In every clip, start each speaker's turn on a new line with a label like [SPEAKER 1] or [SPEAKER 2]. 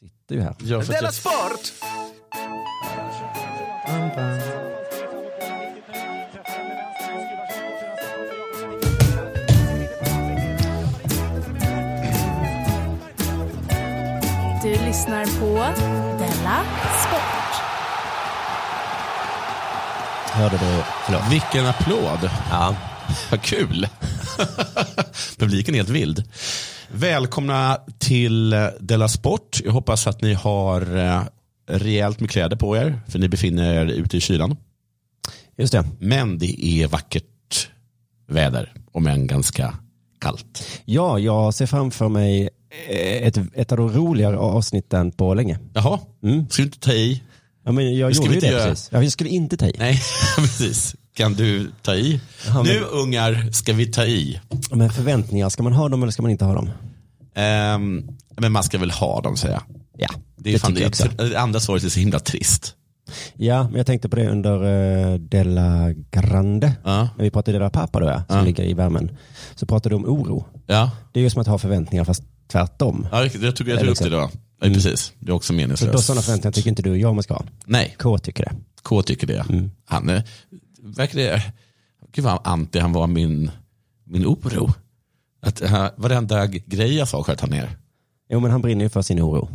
[SPEAKER 1] sitter ju här.
[SPEAKER 2] Ja, för att
[SPEAKER 3] Della
[SPEAKER 2] jag,
[SPEAKER 3] Sport!
[SPEAKER 4] Du lyssnar på Della Sport.
[SPEAKER 1] Hörde du? Förlåt.
[SPEAKER 2] vilken applåd!
[SPEAKER 1] Ja.
[SPEAKER 2] Vad kul! Publiken är helt vild. Välkomna till eh, Della Sport. Jag hoppas att ni har eh, rejält med kläder på er, för ni befinner er ute i kylan.
[SPEAKER 1] Just det.
[SPEAKER 2] Men det är vackert väder, om än ganska kallt.
[SPEAKER 1] Ja, jag ser framför mig eh, ett, ett av de roligare avsnitten på länge.
[SPEAKER 2] Jaha,
[SPEAKER 1] Mm.
[SPEAKER 2] ska du inte ta i?
[SPEAKER 1] Ja, men jag
[SPEAKER 2] Det ska
[SPEAKER 1] gjorde
[SPEAKER 2] vi
[SPEAKER 1] ju
[SPEAKER 2] inte
[SPEAKER 1] det
[SPEAKER 2] göra.
[SPEAKER 1] precis. Ja, vi skulle inte ta i.
[SPEAKER 2] Nej, precis. Kan du ta i?
[SPEAKER 1] men-
[SPEAKER 2] Nu ungar ska vi ta i.
[SPEAKER 1] Men förväntningar, ska man ha dem eller ska man inte ha dem?
[SPEAKER 2] Ehm, men man ska väl ha dem säger jag.
[SPEAKER 1] Ja,
[SPEAKER 2] Det, är fan,
[SPEAKER 1] tycker jag också.
[SPEAKER 2] det andra svaret är så himla trist.
[SPEAKER 1] Ja, men jag tänkte på det under eh, Della Grande.
[SPEAKER 2] Ja.
[SPEAKER 1] När vi pratade Della Pappa då, ja, som
[SPEAKER 2] Ja.
[SPEAKER 1] ligger i värmen. Så pratade du om oro.
[SPEAKER 2] Ja,
[SPEAKER 1] Det är ju som att ha förväntningar fast tvärtom.
[SPEAKER 2] ja jag jag tog, jag tog upp det då. Ja,
[SPEAKER 1] Mm.
[SPEAKER 2] precis, det är också
[SPEAKER 1] Så då
[SPEAKER 2] meningslöst.
[SPEAKER 1] sådana förväntningar tycker inte du och jag man ska ha.
[SPEAKER 2] Nej,
[SPEAKER 1] K tycker det.
[SPEAKER 2] K tycker det.
[SPEAKER 1] Mm.
[SPEAKER 2] Han är, verkar det, gud vad anti han var min, min oro. Att han, varenda grej jag sa sköt han ner.
[SPEAKER 1] Jo men han brinner ju för sin oro.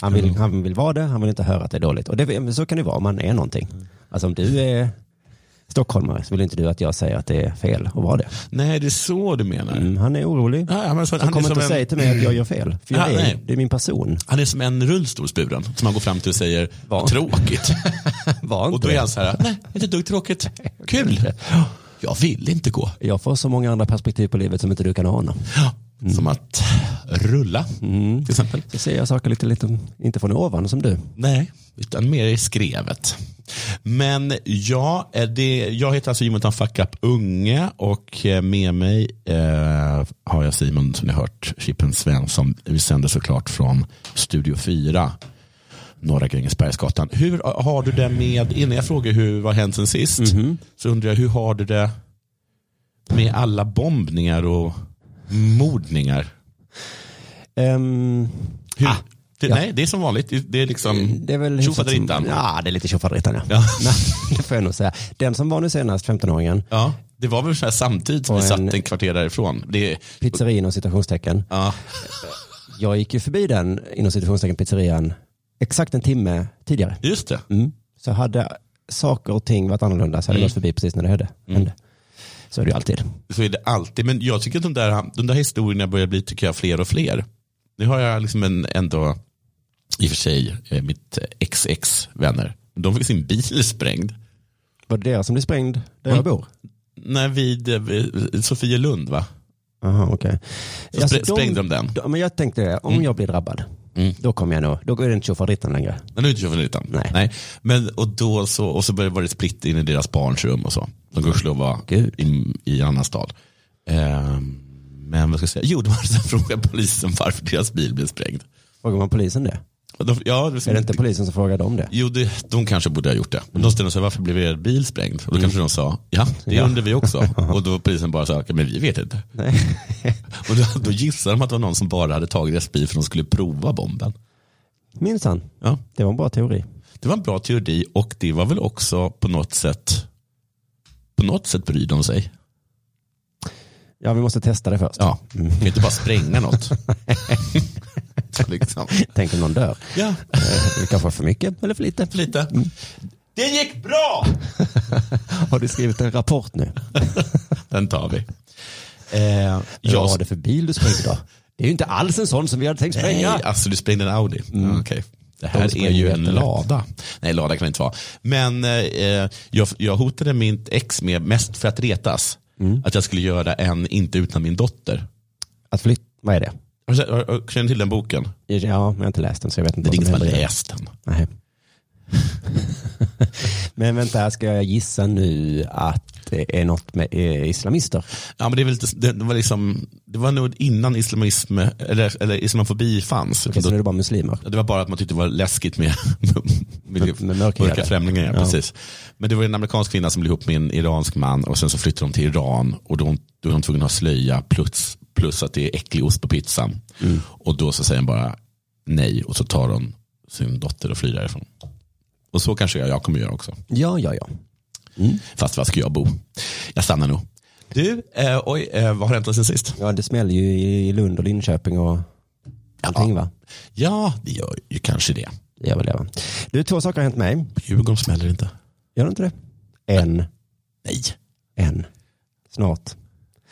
[SPEAKER 1] Han
[SPEAKER 2] Mm.
[SPEAKER 1] vill, han vill vara det, han vill inte höra att det är dåligt. Och det, men så kan det vara om man är någonting.
[SPEAKER 2] Mm.
[SPEAKER 1] Alltså om du är stockholmare så vill inte du att jag säger att det är fel att vara det.
[SPEAKER 2] Nej, det är så du menar.
[SPEAKER 1] Mm, han är orolig.
[SPEAKER 2] Ja, men så,
[SPEAKER 1] Han
[SPEAKER 2] han, är
[SPEAKER 1] kommer
[SPEAKER 2] som
[SPEAKER 1] inte
[SPEAKER 2] en,
[SPEAKER 1] säga till mig att jag gör fel. För jag
[SPEAKER 2] Ah,
[SPEAKER 1] är,
[SPEAKER 2] nej.
[SPEAKER 1] det är min person.
[SPEAKER 2] han är som en rullstolsburen som han går fram till och säger,
[SPEAKER 1] Va?
[SPEAKER 2] tråkigt.
[SPEAKER 1] Var
[SPEAKER 2] och då är han så här, nej, inte ett dugg tråkigt, kul. Jag vill inte gå.
[SPEAKER 1] Jag får så många andra perspektiv på livet som inte du kan ana.
[SPEAKER 2] Som att rulla,
[SPEAKER 1] Mm.
[SPEAKER 2] till exempel.
[SPEAKER 1] Så ser jag saker lite, lite inte från ovan som du.
[SPEAKER 2] Nej, utan mer i skrevet. Men ja, eh, det, jag heter alltså Jonathan Fuckup Unge och eh, med mig eh, har jag Simon som ni har hört, Chippen Svensson. Vi sänder såklart från Studio 4, Norra Grängesbergsgatan. Hur eh, har du det med, innan jag frågar hur, vad har hänt sen sist, så undrar jag hur har du det med alla bombningar och mordningar?
[SPEAKER 1] Ehm,
[SPEAKER 2] Hur, det, Nej, det är som vanligt. Det, det är liksom
[SPEAKER 1] det är väl hyfsat som-
[SPEAKER 2] tjofaderittan.
[SPEAKER 1] Ja, det är lite tjofaderittan ja.
[SPEAKER 2] Ja.
[SPEAKER 1] Nej, det får jag nog säga. Den som var nu senast, 15-åringen,
[SPEAKER 2] Ja, det var väl så här samtidigt som
[SPEAKER 1] Och
[SPEAKER 2] vi
[SPEAKER 1] en-
[SPEAKER 2] satt en kvarter därifrån. Det,
[SPEAKER 1] pizzerian och citationstecken.
[SPEAKER 2] ja,
[SPEAKER 1] Jag gick ju förbi den, inom citationstecken, pizzerian exakt en timme tidigare.
[SPEAKER 2] just det.
[SPEAKER 1] Mm. Så hade saker och ting varit annorlunda så hade jag gått förbi precis när det hände. hände. Så är det ju alltid.
[SPEAKER 2] Så är det alltid. Men jag tycker att de där, de där historierna börjar bli, tycker jag, fler och fler. Nu har jag liksom en, ändå, i och för sig, eh, mitt eh, XX vänner. De fick sin bil sprängd.
[SPEAKER 1] Var det deras som blev sprängd där
[SPEAKER 2] Mm.
[SPEAKER 1] jag bor?
[SPEAKER 2] Nej, vid, eh, vid Sofielund va?
[SPEAKER 1] Aha, okej.
[SPEAKER 2] Så
[SPEAKER 1] Alltså,
[SPEAKER 2] sprä- sprängde de den.
[SPEAKER 1] Ja, men jag tänkte det, om jag blir drabbad,
[SPEAKER 2] Mm.
[SPEAKER 1] då kommer jag nog, då går det inte tjofaderittan längre.
[SPEAKER 2] Men nu är det inte Tjofaderittan.
[SPEAKER 1] Nej.
[SPEAKER 2] Nej. Men, och, då så, och så började det vara splitt in i deras barns rum och så. De gudskelov var i, i annan stad. Ehm, men vad ska jag säga? Jo, de hade så här frågat polisen varför deras bil blev sprängd.
[SPEAKER 1] Frågar man polisen det?
[SPEAKER 2] Och De, ja, det
[SPEAKER 1] Är det inte polisen som frågar dem det?
[SPEAKER 2] Jo, det, de kanske borde ha gjort det. De ställde sig varför blev er bil sprängd? Och då kanske de sa, ja, det
[SPEAKER 1] Ja.
[SPEAKER 2] undrar vi också. Och då polisen bara sa, "Okej, men vi vet inte.
[SPEAKER 1] Nej.
[SPEAKER 2] Och då, då gissade de att det var någon som bara hade tagit deras bil för de skulle prova bomben.
[SPEAKER 1] Minsann,
[SPEAKER 2] Ja.
[SPEAKER 1] det var en bra teori.
[SPEAKER 2] Det var en bra teori och det var väl också på något sätt på något sätt bryr de sig.
[SPEAKER 1] Ja, vi måste testa det först.
[SPEAKER 2] Ja, mm. kan ju inte bara spränga något. Så liksom.
[SPEAKER 1] Tänk om någon dör.
[SPEAKER 2] Ja,
[SPEAKER 1] Eh, Det kanske är för mycket eller för lite.
[SPEAKER 2] lite. Det gick bra!
[SPEAKER 1] Har du skrivit en rapport nu?
[SPEAKER 2] Den tar vi. Eh,
[SPEAKER 1] Vad
[SPEAKER 2] jag
[SPEAKER 1] var det för bil du sprängde då? Det är ju inte alls en sån som vi hade tänkt
[SPEAKER 2] Nej,
[SPEAKER 1] spränga.
[SPEAKER 2] alltså du sprängde en Audi. Ja, okej. Det här
[SPEAKER 1] spränger
[SPEAKER 2] är ju en
[SPEAKER 1] jättelätt.
[SPEAKER 2] lada. Nej, lada kan det inte vara. Men eh, jag, jag hotade mitt ex med, mest för att retas, att jag skulle göra en inte utan min dotter.
[SPEAKER 1] Att flytta, vad är det?
[SPEAKER 2] Har du sett- har- har- Känner du till den boken?
[SPEAKER 1] Ja, jag har inte läst den så jag vet
[SPEAKER 2] Det
[SPEAKER 1] inte
[SPEAKER 2] är ingen som har
[SPEAKER 1] händer i den.
[SPEAKER 2] läst den.
[SPEAKER 1] Nej. Men vänta, här ska jag gissa nu att det är något med eh, islamister?
[SPEAKER 2] Ja, men det, är väl lite, det, det var liksom, det var nog innan islamism, eller, eller islamofobi fanns.
[SPEAKER 1] Okej, så
[SPEAKER 2] Då-
[SPEAKER 1] nu är det bara muslimer?
[SPEAKER 2] det var bara att man tyckte det var läskigt med, med,
[SPEAKER 1] Med- med mörka jävlar.
[SPEAKER 2] främlingar. Ja,
[SPEAKER 1] Ja.
[SPEAKER 2] Precis. Men det var en amerikansk kvinna som blev ihop med en iransk man och sen så flyttade de till Iran och då, då är de Mm. tvungna att ha slöja plus, plus att det är äcklig ost på pizzan. Och då så säger han bara, nej och så tar hon sin dotter och flyr därifrån. Och så kanske jag, jag kommer göra också.
[SPEAKER 1] Ja, ja, ja. Mm.
[SPEAKER 2] Fast var ska jag bo? Jag stannar nog. Du, eh, oj, eh, vad har hänt sen sist?
[SPEAKER 1] Ja, det smäller ju i Lund och Linköping och allting va?
[SPEAKER 2] Ja, det gör ju kanske det.
[SPEAKER 1] Det gör väl det va? Du, två saker har hänt mig.
[SPEAKER 2] Djurgården smäller inte.
[SPEAKER 1] Gör det inte det? En,
[SPEAKER 2] Nej.
[SPEAKER 1] en, snart.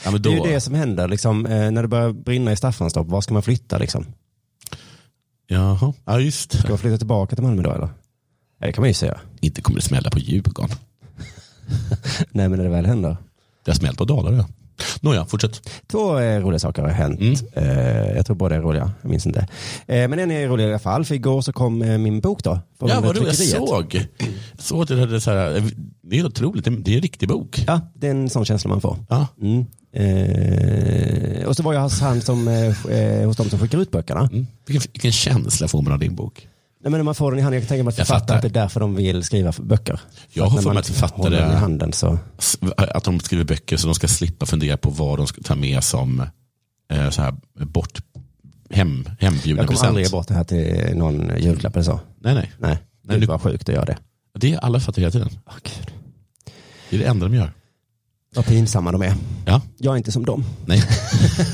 [SPEAKER 2] Ja, men
[SPEAKER 1] Det
[SPEAKER 2] då,
[SPEAKER 1] är ju det som händer liksom, eh, när det börjar brinna i Staffanstorp. Var ska man flytta liksom?
[SPEAKER 2] Jaha. Ja, just det.
[SPEAKER 1] Ska man flytta tillbaka till Malmö då eller? Ja, det kan man ju säga.
[SPEAKER 2] Inte kommer det smälla på Djurgården.
[SPEAKER 1] Nej, men när det väl händer.
[SPEAKER 2] Det har smällt på Dalarö. Nåja, fortsätt.
[SPEAKER 1] Två eh, roliga saker har hänt.
[SPEAKER 2] Mm.
[SPEAKER 1] Eh, jag tror båda är roliga, jag minns inte. Eh, men en är rolig i alla fall, för igår så kom eh, min bok då. från
[SPEAKER 2] Ja, vad du, jag
[SPEAKER 1] tryckeriet.
[SPEAKER 2] såg. Jag såg att det, hade så här, eh, det är otroligt, det är en riktig bok.
[SPEAKER 1] Ja, det är en sån känsla man får.
[SPEAKER 2] Ja.
[SPEAKER 1] Mm. Eh, och så var jag hos, han som, eh, eh, hos de som skickar ut böckerna.
[SPEAKER 2] Mm. Vilken, vilken känsla får man av din bok?
[SPEAKER 1] Nej, men när man får den i handen, jag kan tänka mig att
[SPEAKER 2] Jag
[SPEAKER 1] författare,
[SPEAKER 2] fattar.
[SPEAKER 1] att det är därför de vill skriva för böcker.
[SPEAKER 2] Jag
[SPEAKER 1] Att
[SPEAKER 2] har
[SPEAKER 1] när
[SPEAKER 2] för mig
[SPEAKER 1] man
[SPEAKER 2] att författare-
[SPEAKER 1] håller den i handen så.
[SPEAKER 2] S- Att de skriver böcker så de ska slippa fundera på vad de ska ta med som eh, så här, bort, hem, hembjuden
[SPEAKER 1] Jag kommer aldrig ge
[SPEAKER 2] present.
[SPEAKER 1] bort det här till någon julklapp eller så.
[SPEAKER 2] Nej, nej.
[SPEAKER 1] Nej,
[SPEAKER 2] Nej,
[SPEAKER 1] det
[SPEAKER 2] du-
[SPEAKER 1] var sjukt att göra det.
[SPEAKER 2] Det är alla fattar hela tiden.
[SPEAKER 1] Oh, Gud.
[SPEAKER 2] Det är det enda de gör.
[SPEAKER 1] Vad pinsamma de är.
[SPEAKER 2] Ja,
[SPEAKER 1] Jag är inte som dem.
[SPEAKER 2] nej.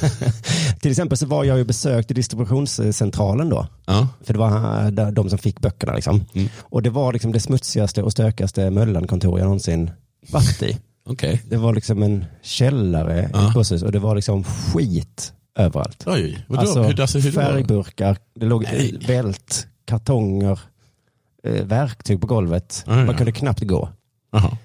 [SPEAKER 1] Till exempel så var jag ju besökte distributionscentralen då.
[SPEAKER 2] Ja.
[SPEAKER 1] För det var eh, där- de som fick böckerna liksom.
[SPEAKER 2] Mm.
[SPEAKER 1] Och det var liksom det smutsigaste och stökigaste Möllan-kontor jag någonsin varit i.
[SPEAKER 2] Okej.
[SPEAKER 1] Det var liksom en källare i
[SPEAKER 2] Ja.
[SPEAKER 1] ett posthus och det var liksom skit överallt.
[SPEAKER 2] Oj, vadå? hur, alltså, hur då?
[SPEAKER 1] färgburkar, det låg
[SPEAKER 2] Nej.
[SPEAKER 1] vält, kartonger, eh, verktyg på golvet.
[SPEAKER 2] Aj,
[SPEAKER 1] Man
[SPEAKER 2] Ah, ja.
[SPEAKER 1] kunde knappt gå.
[SPEAKER 2] Jaha.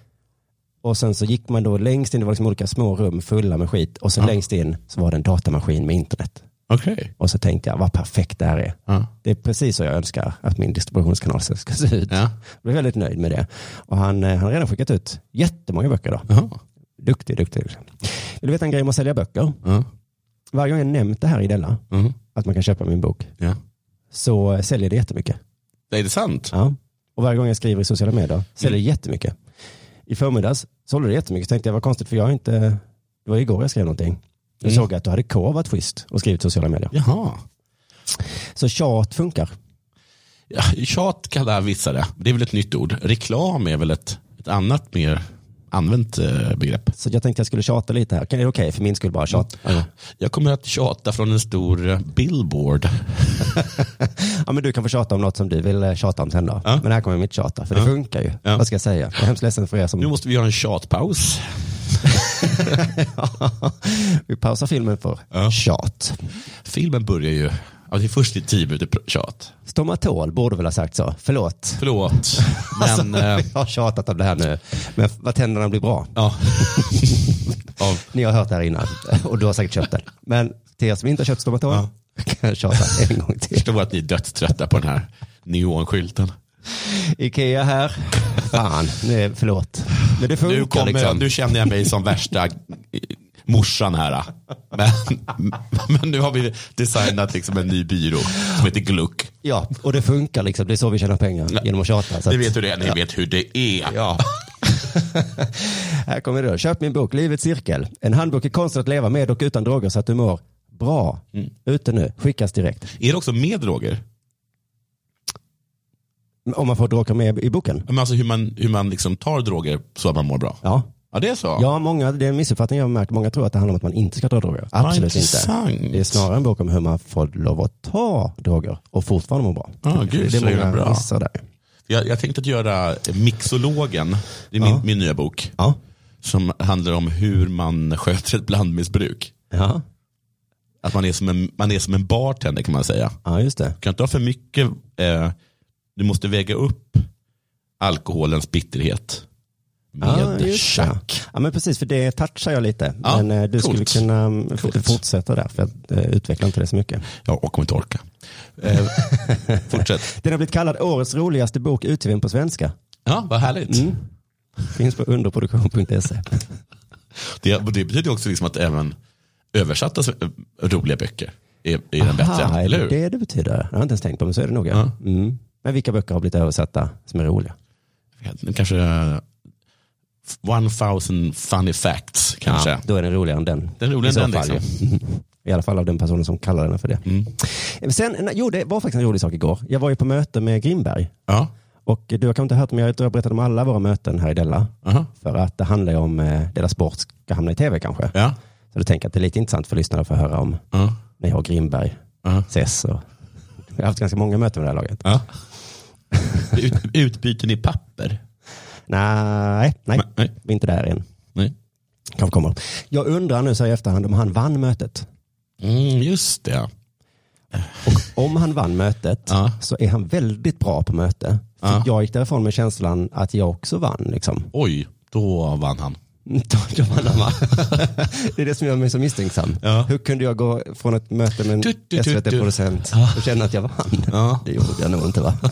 [SPEAKER 1] Och sen så gick man då längst in, det var liksom olika små rum fulla med skit. Och sen
[SPEAKER 2] Ja.
[SPEAKER 1] längst in så var det en datamaskin med internet.
[SPEAKER 2] Okej.
[SPEAKER 1] Och så tänkte jag, vad perfekt det här är.
[SPEAKER 2] Ja.
[SPEAKER 1] Det är precis så jag önskar att min distributionskanal ska ska se ut.
[SPEAKER 2] Ja.
[SPEAKER 1] Jag blev väldigt nöjd med det. Och han, eh, han har redan skickat ut jättemånga böcker då.
[SPEAKER 2] Jaha.
[SPEAKER 1] Duktig, duktig. liksom. Vill du veta en grej om att sälja böcker?
[SPEAKER 2] Ja.
[SPEAKER 1] Varje gång jag nämnt det här i Della,
[SPEAKER 2] Mhm.
[SPEAKER 1] att man kan köpa min bok,
[SPEAKER 2] ja.
[SPEAKER 1] så eh, säljer det jättemycket.
[SPEAKER 2] Är det sant?
[SPEAKER 1] Ja. Och varje gång jag skriver i sociala medier säljer det jättemycket. I förmiddags sålde det jättemycket. tänkte jag, vad konstigt för jag har inte, det var igår jag skrev någonting. Jag
[SPEAKER 2] Mm.
[SPEAKER 1] såg att du hade K varit schysst och skrivit sociala medier.
[SPEAKER 2] Jaha.
[SPEAKER 1] Så tjat funkar.
[SPEAKER 2] Ja, tjat kallar vissa det. Det är väl ett nytt ord. Reklam är väl ett, ett annat mer använt eh, begrepp.
[SPEAKER 1] Så jag tänkte jag skulle tjata lite här. Kan- Är det okej för min skull bara tjat?
[SPEAKER 2] Jag kommer att tjata från en stor eh, billboard.
[SPEAKER 1] Ja men du kan få tjata om något som du vill eh, tjata om sen då.
[SPEAKER 2] Mm. Ja.
[SPEAKER 1] Men här kommer mitt tjata, för det funkar ju.
[SPEAKER 2] Ja.
[SPEAKER 1] Vad ska jag säga? Jag är hemskt ledsen för er
[SPEAKER 2] Nu
[SPEAKER 1] som...
[SPEAKER 2] måste vi göra en tjatpaus.
[SPEAKER 1] Vi pausar filmen för
[SPEAKER 2] Ja.
[SPEAKER 1] tjat.
[SPEAKER 2] Filmen börjar ju, ja, det är först i tio minuter pr- tjat.
[SPEAKER 1] Stomatol borde väl ha sagt så. Förlåt.
[SPEAKER 2] Förlåt, men eh,
[SPEAKER 1] Jag har tjatat om det här nu. Men vad tänderna blir bra.
[SPEAKER 2] ja. Av,
[SPEAKER 1] Ni har hört det här innan och du har säkert köpt den. Men till er som inte har köpt Stomatol
[SPEAKER 2] Ja.
[SPEAKER 1] kan jag tjata en gång till.
[SPEAKER 2] förstår att ni är dödströtta på den här neonskylten.
[SPEAKER 1] Ikea här. Fan, nej, förlåt. Men det funkar
[SPEAKER 2] Nu, kommer,
[SPEAKER 1] liksom.
[SPEAKER 2] nu känner jag mig som värsta eh, morsan här. Men, men nu har vi designat liksom en ny byrå som heter Gluck.
[SPEAKER 1] Ja, och det funkar liksom. Det är så vi tjänar pengar genom att tjata. Så
[SPEAKER 2] Ni
[SPEAKER 1] att,
[SPEAKER 2] vet hur det är, ni vet hur det är.
[SPEAKER 1] ja. här kommer det då. Köp min bok Livets cirkel. En handbok i konst att leva med och utan droger så att du mår bra. Ute nu, skickas direkt.
[SPEAKER 2] Är det också med droger?
[SPEAKER 1] Om man får droger med i boken.
[SPEAKER 2] Men alltså hur man, hur man liksom tar droger så att man mår bra?
[SPEAKER 1] Ja,
[SPEAKER 2] Ja, det är så?
[SPEAKER 1] Ja, många, det är en missuppfattning jag har märkt. Många tror att det handlar om att man inte ska ta droger. Absolut inte.
[SPEAKER 2] intressant.
[SPEAKER 1] Det är snarare en bok om hur man får lov att ta droger och fortfarande må bra.
[SPEAKER 2] Ah, gud,
[SPEAKER 1] det
[SPEAKER 2] så
[SPEAKER 1] är många
[SPEAKER 2] jävla bra.
[SPEAKER 1] missar där.
[SPEAKER 2] Jag, jag tänkte att göra Mixologen, det är min,
[SPEAKER 1] Ja.
[SPEAKER 2] min nya bok,
[SPEAKER 1] Ja.
[SPEAKER 2] som handlar om hur man sköter ett blandmissbruk.
[SPEAKER 1] Ja.
[SPEAKER 2] Att man är som en, man är som en bartender kan man säga.
[SPEAKER 1] ja, just det.
[SPEAKER 2] Du kan inte ha för mycket, eh, du måste väga upp alkoholens bitterhet med
[SPEAKER 1] Ja, Ah, just det.
[SPEAKER 2] tjack.
[SPEAKER 1] Ja, men precis, för det touchar jag lite.
[SPEAKER 2] Ja,
[SPEAKER 1] men eh, du skulle
[SPEAKER 2] coolt.
[SPEAKER 1] kunna mm, f-
[SPEAKER 2] Coolt.
[SPEAKER 1] fortsätta där, för jag eh, utvecklar inte det så mycket.
[SPEAKER 2] Ja, och kommer inte orka. Eh, fortsätt.
[SPEAKER 1] Den har blivit kallad årets roligaste bok utgiven på svenska.
[SPEAKER 2] Ja, vad härligt.
[SPEAKER 1] Mm. Finns på underproduktion.se.
[SPEAKER 2] Det, det betyder också liksom att även översatta eh, roliga böcker är, är den
[SPEAKER 1] Aha,
[SPEAKER 2] bättre.
[SPEAKER 1] är
[SPEAKER 2] Eller
[SPEAKER 1] det
[SPEAKER 2] hur?
[SPEAKER 1] det det betyder? Jag har inte ens tänkt på, men så är det nog. Ja. Mm. Men vilka böcker har blivit översatta som är roliga?
[SPEAKER 2] Kanske eh, 1000 funny facts kanske.
[SPEAKER 1] Ja, då är den roligare än den. liksom.
[SPEAKER 2] Den är roligare
[SPEAKER 1] I så
[SPEAKER 2] än den, liksom.
[SPEAKER 1] fall ju. I alla fall av den personen som kallar den för det. Eh,
[SPEAKER 2] Mm.
[SPEAKER 1] Sen, jo, det var faktiskt en rolig sak igår. Jag var ju på möte med Grimberg.
[SPEAKER 2] Ja.
[SPEAKER 1] Och du har kanske inte hört, men jag tror jag berättade om alla våra möten här i Della.
[SPEAKER 2] Aha.
[SPEAKER 1] För att det handlar ju om eh, Della Sport ska hamna i tv kanske.
[SPEAKER 2] Ja.
[SPEAKER 1] Så då tänker jag att det är lite intressant för lyssnarna att få höra om
[SPEAKER 2] Ja.
[SPEAKER 1] när jag och Grimberg
[SPEAKER 2] Ja.
[SPEAKER 1] ses. Och... Jag har haft ganska många möten med det här laget.
[SPEAKER 2] ja. Ut, utbyten i papper?
[SPEAKER 1] Nej, nej,
[SPEAKER 2] Nej.
[SPEAKER 1] vi är inte där än.
[SPEAKER 2] Nej.
[SPEAKER 1] Kanske kommer. Jag undrar nu så här i efterhand om han vann mötet.
[SPEAKER 2] Mm, just det.
[SPEAKER 1] Och om han vann mötet
[SPEAKER 2] Ja.
[SPEAKER 1] så är han väldigt bra på möte. För
[SPEAKER 2] Ja.
[SPEAKER 1] Jag gick därifrån med känslan att jag också vann. Liksom.
[SPEAKER 2] Oj, då vann han.
[SPEAKER 1] Då- då vann han, va? det är det som gör mig så misstänksam.
[SPEAKER 2] Ja.
[SPEAKER 1] Hur kunde jag gå från ett möte med
[SPEAKER 2] Du, du,
[SPEAKER 1] en
[SPEAKER 2] du,
[SPEAKER 1] SVT-producent och känna att jag vann?
[SPEAKER 2] Ja.
[SPEAKER 1] Det gjorde jag nog inte va?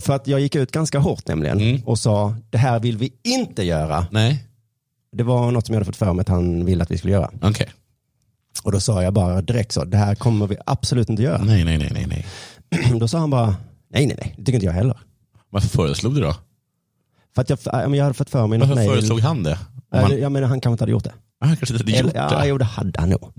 [SPEAKER 1] För att jag gick ut ganska hårt nämligen
[SPEAKER 2] Mm.
[SPEAKER 1] och sa det här vill vi inte göra.
[SPEAKER 2] Nej,
[SPEAKER 1] Det var något som jag hade fått för mig att han ville att vi skulle göra.
[SPEAKER 2] okej.
[SPEAKER 1] Och då sa jag bara direkt så, det här kommer vi absolut inte göra.
[SPEAKER 2] Nej, nej, nej, nej, nej.
[SPEAKER 1] Då sa han bara, nej nej nej, det tycker inte jag heller.
[SPEAKER 2] Varför föreslog du då?
[SPEAKER 1] För att jag, ja, men jag hade fått för mig
[SPEAKER 2] Varför
[SPEAKER 1] något mejl.
[SPEAKER 2] föreslog han det? Om
[SPEAKER 1] Ja,
[SPEAKER 2] han,
[SPEAKER 1] det- Jag menar han kanske inte hade gjort det.
[SPEAKER 2] han kanske inte hade gjort
[SPEAKER 1] Eller, ja,
[SPEAKER 2] det. Mm.
[SPEAKER 1] jo det hade han nog.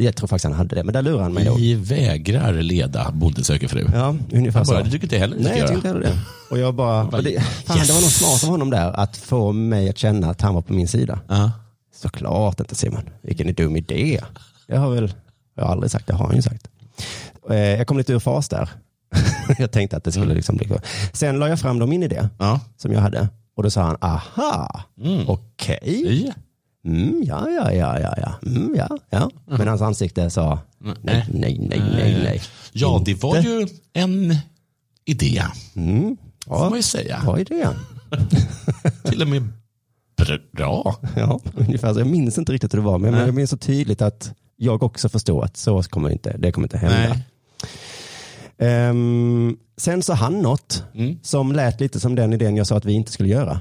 [SPEAKER 1] Jag tror faktiskt han hade det, men där lurade han mig nog.
[SPEAKER 2] Vi vägrar leda Bonde söker fru.
[SPEAKER 1] Ja, ungefär
[SPEAKER 2] Han
[SPEAKER 1] så.
[SPEAKER 2] bara, du tycker inte heller ni ska
[SPEAKER 1] Nej, jag
[SPEAKER 2] göra.
[SPEAKER 1] tyckte heller det. Och jag bara, och det, fan, det var nog smart av honom där att få mig att känna att han var på min sida.
[SPEAKER 2] Ja.
[SPEAKER 1] Såklart inte Simon, vilken dum idé. Det har väl, jag har aldrig sagt, det har han ju sagt. Eh, Jag kom lite ur fas där. Jag tänkte att det skulle liksom bli så. Sen la jag fram då min idé
[SPEAKER 2] Ja.
[SPEAKER 1] som jag hade och då sa han, aha,
[SPEAKER 2] Mm.
[SPEAKER 1] okej.
[SPEAKER 2] I?
[SPEAKER 1] Mm, ja, ja, ja, ja, ja. Mm, ja, ja. Men hans ansikte sa nej, nej, nej, nej, nej.
[SPEAKER 2] Ja, det var
[SPEAKER 1] Inte.
[SPEAKER 2] ju en idé.
[SPEAKER 1] Mm.
[SPEAKER 2] Får man
[SPEAKER 1] Ja,
[SPEAKER 2] ju säga.
[SPEAKER 1] vad är det?
[SPEAKER 2] Till och med bra.
[SPEAKER 1] Ja, ungefär så. Jag minns inte riktigt hur det var, men
[SPEAKER 2] Nej.
[SPEAKER 1] jag minns så tydligt att jag också förstår att så kommer inte, det kommer inte hända.
[SPEAKER 2] Nej.
[SPEAKER 1] Ehm, sen sa han något
[SPEAKER 2] Mm.
[SPEAKER 1] som lät lite som den idén jag sa att vi inte skulle göra.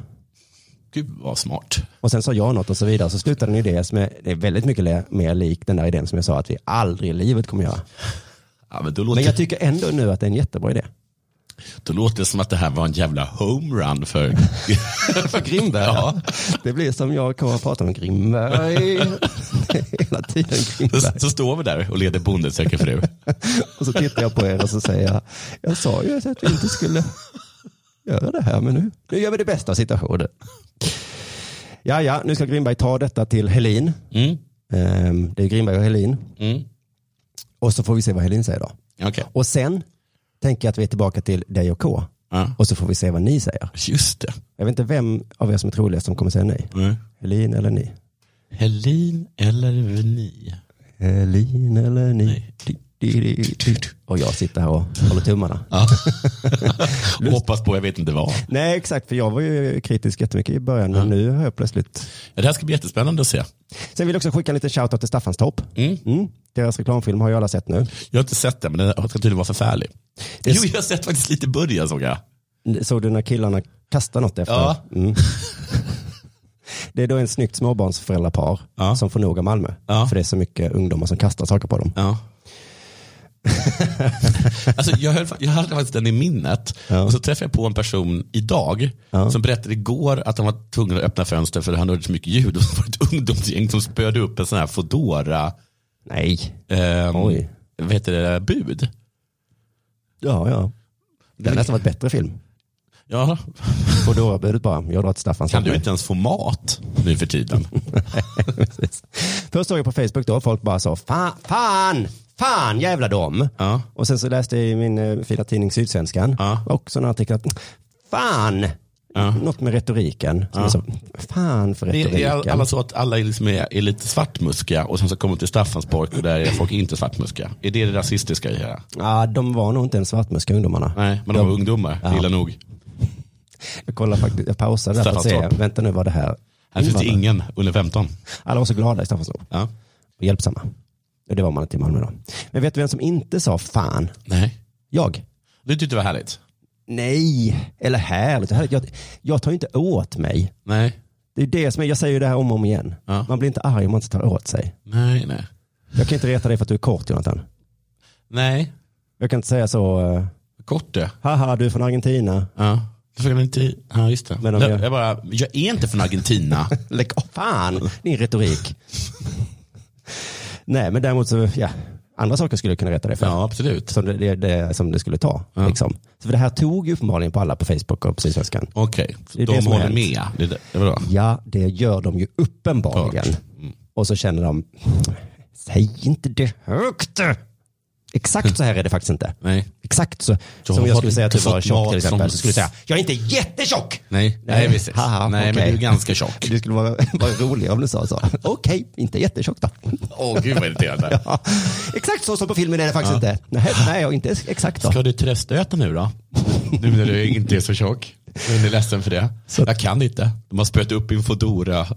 [SPEAKER 2] Gud vad smart.
[SPEAKER 1] Och sen sa jag något och så vidare. Så slutade en idé som är, det är väldigt mycket le- mer lik den där idén som jag sa att vi aldrig i livet kommer göra.
[SPEAKER 2] Ja, men då, låter,
[SPEAKER 1] Men jag tycker ändå nu att det är en jättebra idé.
[SPEAKER 2] då låter det som att det här var en jävla homerun för, för Grimberg. Ja.
[SPEAKER 1] Det blir som jag kommer att prata om Grimberg. Hela tiden
[SPEAKER 2] Så,
[SPEAKER 1] Grimberg.
[SPEAKER 2] så står vi där och leder Bonde söker fru.
[SPEAKER 1] Och så tittar jag på er och så säger jag, jag sa ju att vi inte skulle göra det här, men nu, nu gör vi det bästa av situationen. Ja, ja, nu ska Grimberg ta detta till Helin.
[SPEAKER 2] Mm.
[SPEAKER 1] Ehm, Det är Grimberg och Helin.
[SPEAKER 2] Mm.
[SPEAKER 1] Och så får vi se vad Helin säger då.
[SPEAKER 2] Okej.
[SPEAKER 1] Och sen tänker jag att vi är tillbaka till dig och K.
[SPEAKER 2] Ja.
[SPEAKER 1] Och så får vi se vad ni säger.
[SPEAKER 2] Just det.
[SPEAKER 1] Jag vet inte vem av er som är troligast som kommer säga nej.
[SPEAKER 2] Mm.
[SPEAKER 1] Helin eller ni?
[SPEAKER 2] Helin eller ni?
[SPEAKER 1] Elin eller ni. Di- di- di- di- di. Och jag sitter här och håller tummarna.
[SPEAKER 2] Ja. Hoppas på, jag vet inte vad.
[SPEAKER 1] Nej exakt, för jag var ju kritisk jättemycket i början men nu har jag plötsligt.
[SPEAKER 2] Ja, Det här ska bli jättespännande att se.
[SPEAKER 1] Sen vill jag också skicka en liten shoutout till Staffanstorp. Mm. Deras reklamfilm har ju alla sett nu.
[SPEAKER 2] Jag har inte sett den, men den ska tydligen vara förfärlig.
[SPEAKER 1] Det är-
[SPEAKER 2] Jo, jag har sett faktiskt lite i början såg jag.
[SPEAKER 1] Såg du när killarna kastade något efter?
[SPEAKER 2] Ja.
[SPEAKER 1] Mm. Det är då en snyggt småbarnsföräldrapar
[SPEAKER 2] Ja.
[SPEAKER 1] som får nog av Malmö.
[SPEAKER 2] Ja.
[SPEAKER 1] För det är så mycket ungdomar som kastar saker på dem.
[SPEAKER 2] Ja. alltså, jag, höll, jag hade faktiskt den i minnet.
[SPEAKER 1] Ja.
[SPEAKER 2] Och så träffade jag på en person idag
[SPEAKER 1] Ja.
[SPEAKER 2] som berättade igår att han var tvungen att öppna fönster för han hörde så mycket ljud. Och så var det ett ungdomsgäng som spöade upp en sån här Foodora
[SPEAKER 1] Nej.
[SPEAKER 2] ehm,
[SPEAKER 1] Oj.
[SPEAKER 2] vad heter det, bud.
[SPEAKER 1] Ja, ja. Det hade nästan varit bättre film.
[SPEAKER 2] Ja,
[SPEAKER 1] Foodora-budet bara, jag drar till Staffanstorp.
[SPEAKER 2] kan du inte ens få mat nu för tiden?
[SPEAKER 1] Precis. Först såg jag på Facebook då, folk bara sa fan, fan, fan jävla dem.
[SPEAKER 2] Ja.
[SPEAKER 1] Och sen så läste jag i min eh, fina tidning Sydsvenskan
[SPEAKER 2] Ja.
[SPEAKER 1] också en artikel att fan,
[SPEAKER 2] Ja.
[SPEAKER 1] något med retoriken. Som
[SPEAKER 2] Ja.
[SPEAKER 1] jag sa, fan för
[SPEAKER 2] Det
[SPEAKER 1] retoriken.
[SPEAKER 2] är all- alla så att alla är, liksom är, är lite svartmuskiga och sen så kommer de till Staffansborg och där är folk inte svartmuskiga. Är det det rasistiska i det här?
[SPEAKER 1] Ja, de var nog inte ens svartmuska ungdomarna.
[SPEAKER 2] Nej, men de var ungdomar,
[SPEAKER 1] Ja.
[SPEAKER 2] illa nog.
[SPEAKER 1] Jag, kollade faktiskt, jag pausade där för att se,
[SPEAKER 2] Staffanstorp.
[SPEAKER 1] vänta nu vad det här
[SPEAKER 2] Här finns det
[SPEAKER 1] invandrare.
[SPEAKER 2] ingen under 15.
[SPEAKER 1] Alla var så glada i Staffanstorp
[SPEAKER 2] Ja.
[SPEAKER 1] och hjälpsamma. Och det var man inte i Malmö då. Men vet du vem som inte sa fan?
[SPEAKER 2] Nej.
[SPEAKER 1] Jag.
[SPEAKER 2] Du tyckte det var härligt?
[SPEAKER 1] Nej, eller härligt. härligt. Jag, jag tar ju inte åt mig.
[SPEAKER 2] Nej.
[SPEAKER 1] Det är det som är, jag säger ju det här om och om igen.
[SPEAKER 2] Ja.
[SPEAKER 1] Man blir inte arg om man inte tar åt sig.
[SPEAKER 2] Nej, nej.
[SPEAKER 1] Jag kan inte reta dig för att du är kort Jonathan.
[SPEAKER 2] Nej,
[SPEAKER 1] Jag kan inte säga så, eh,
[SPEAKER 2] kort det.
[SPEAKER 1] haha du är från Argentina.
[SPEAKER 2] Ja. Det såg han inte i. Ja, just det.
[SPEAKER 1] Men om
[SPEAKER 2] jag,
[SPEAKER 1] jag-
[SPEAKER 2] jag, bara, jag är inte från Argentina. Lägg av.
[SPEAKER 1] Fan, din retorik. Nej, men däremot så, ja, andra saker skulle jag kunna rätta dig för.
[SPEAKER 2] Ja, absolut.
[SPEAKER 1] Som det, det, det, som det skulle ta. Liksom. Så för det här tog ju uppenbarligen på alla på Facebook och på Sydsvenskan.
[SPEAKER 2] Okej,
[SPEAKER 1] Det är
[SPEAKER 2] de
[SPEAKER 1] det som har
[SPEAKER 2] håller
[SPEAKER 1] hänt.
[SPEAKER 2] med. Det är det, det var bra.
[SPEAKER 1] Ja, det gör de ju uppenbarligen.
[SPEAKER 2] Klart. Mm.
[SPEAKER 1] Och så känner de, säg inte det högt. Exakt så här är det faktiskt inte.
[SPEAKER 2] Nej.
[SPEAKER 1] Exakt så.
[SPEAKER 2] Jag
[SPEAKER 1] som
[SPEAKER 2] har
[SPEAKER 1] jag skulle
[SPEAKER 2] inte
[SPEAKER 1] säga att du var
[SPEAKER 2] fått
[SPEAKER 1] tjock
[SPEAKER 2] mat
[SPEAKER 1] till exempel.
[SPEAKER 2] från-
[SPEAKER 1] Så skulle jag säga, jag är inte jättetjock.
[SPEAKER 2] Nej, nej,
[SPEAKER 1] Nej.
[SPEAKER 2] precis.
[SPEAKER 1] Haha,
[SPEAKER 2] nej, men
[SPEAKER 1] okej.
[SPEAKER 2] du är ganska tjock.
[SPEAKER 1] Det skulle vara, vara roligare om du sa så. Okej, inte jättetjock då.
[SPEAKER 2] Åh, gud vad irriterande.
[SPEAKER 1] Ja, exakt så som på filmen är det faktiskt inte. Nej, nej, och inte exakt så.
[SPEAKER 2] Ska du tröstöta nu då? Nu när du inte är så tjock. Men är ledsen för det. Jag kan inte. De har spöat upp min fodora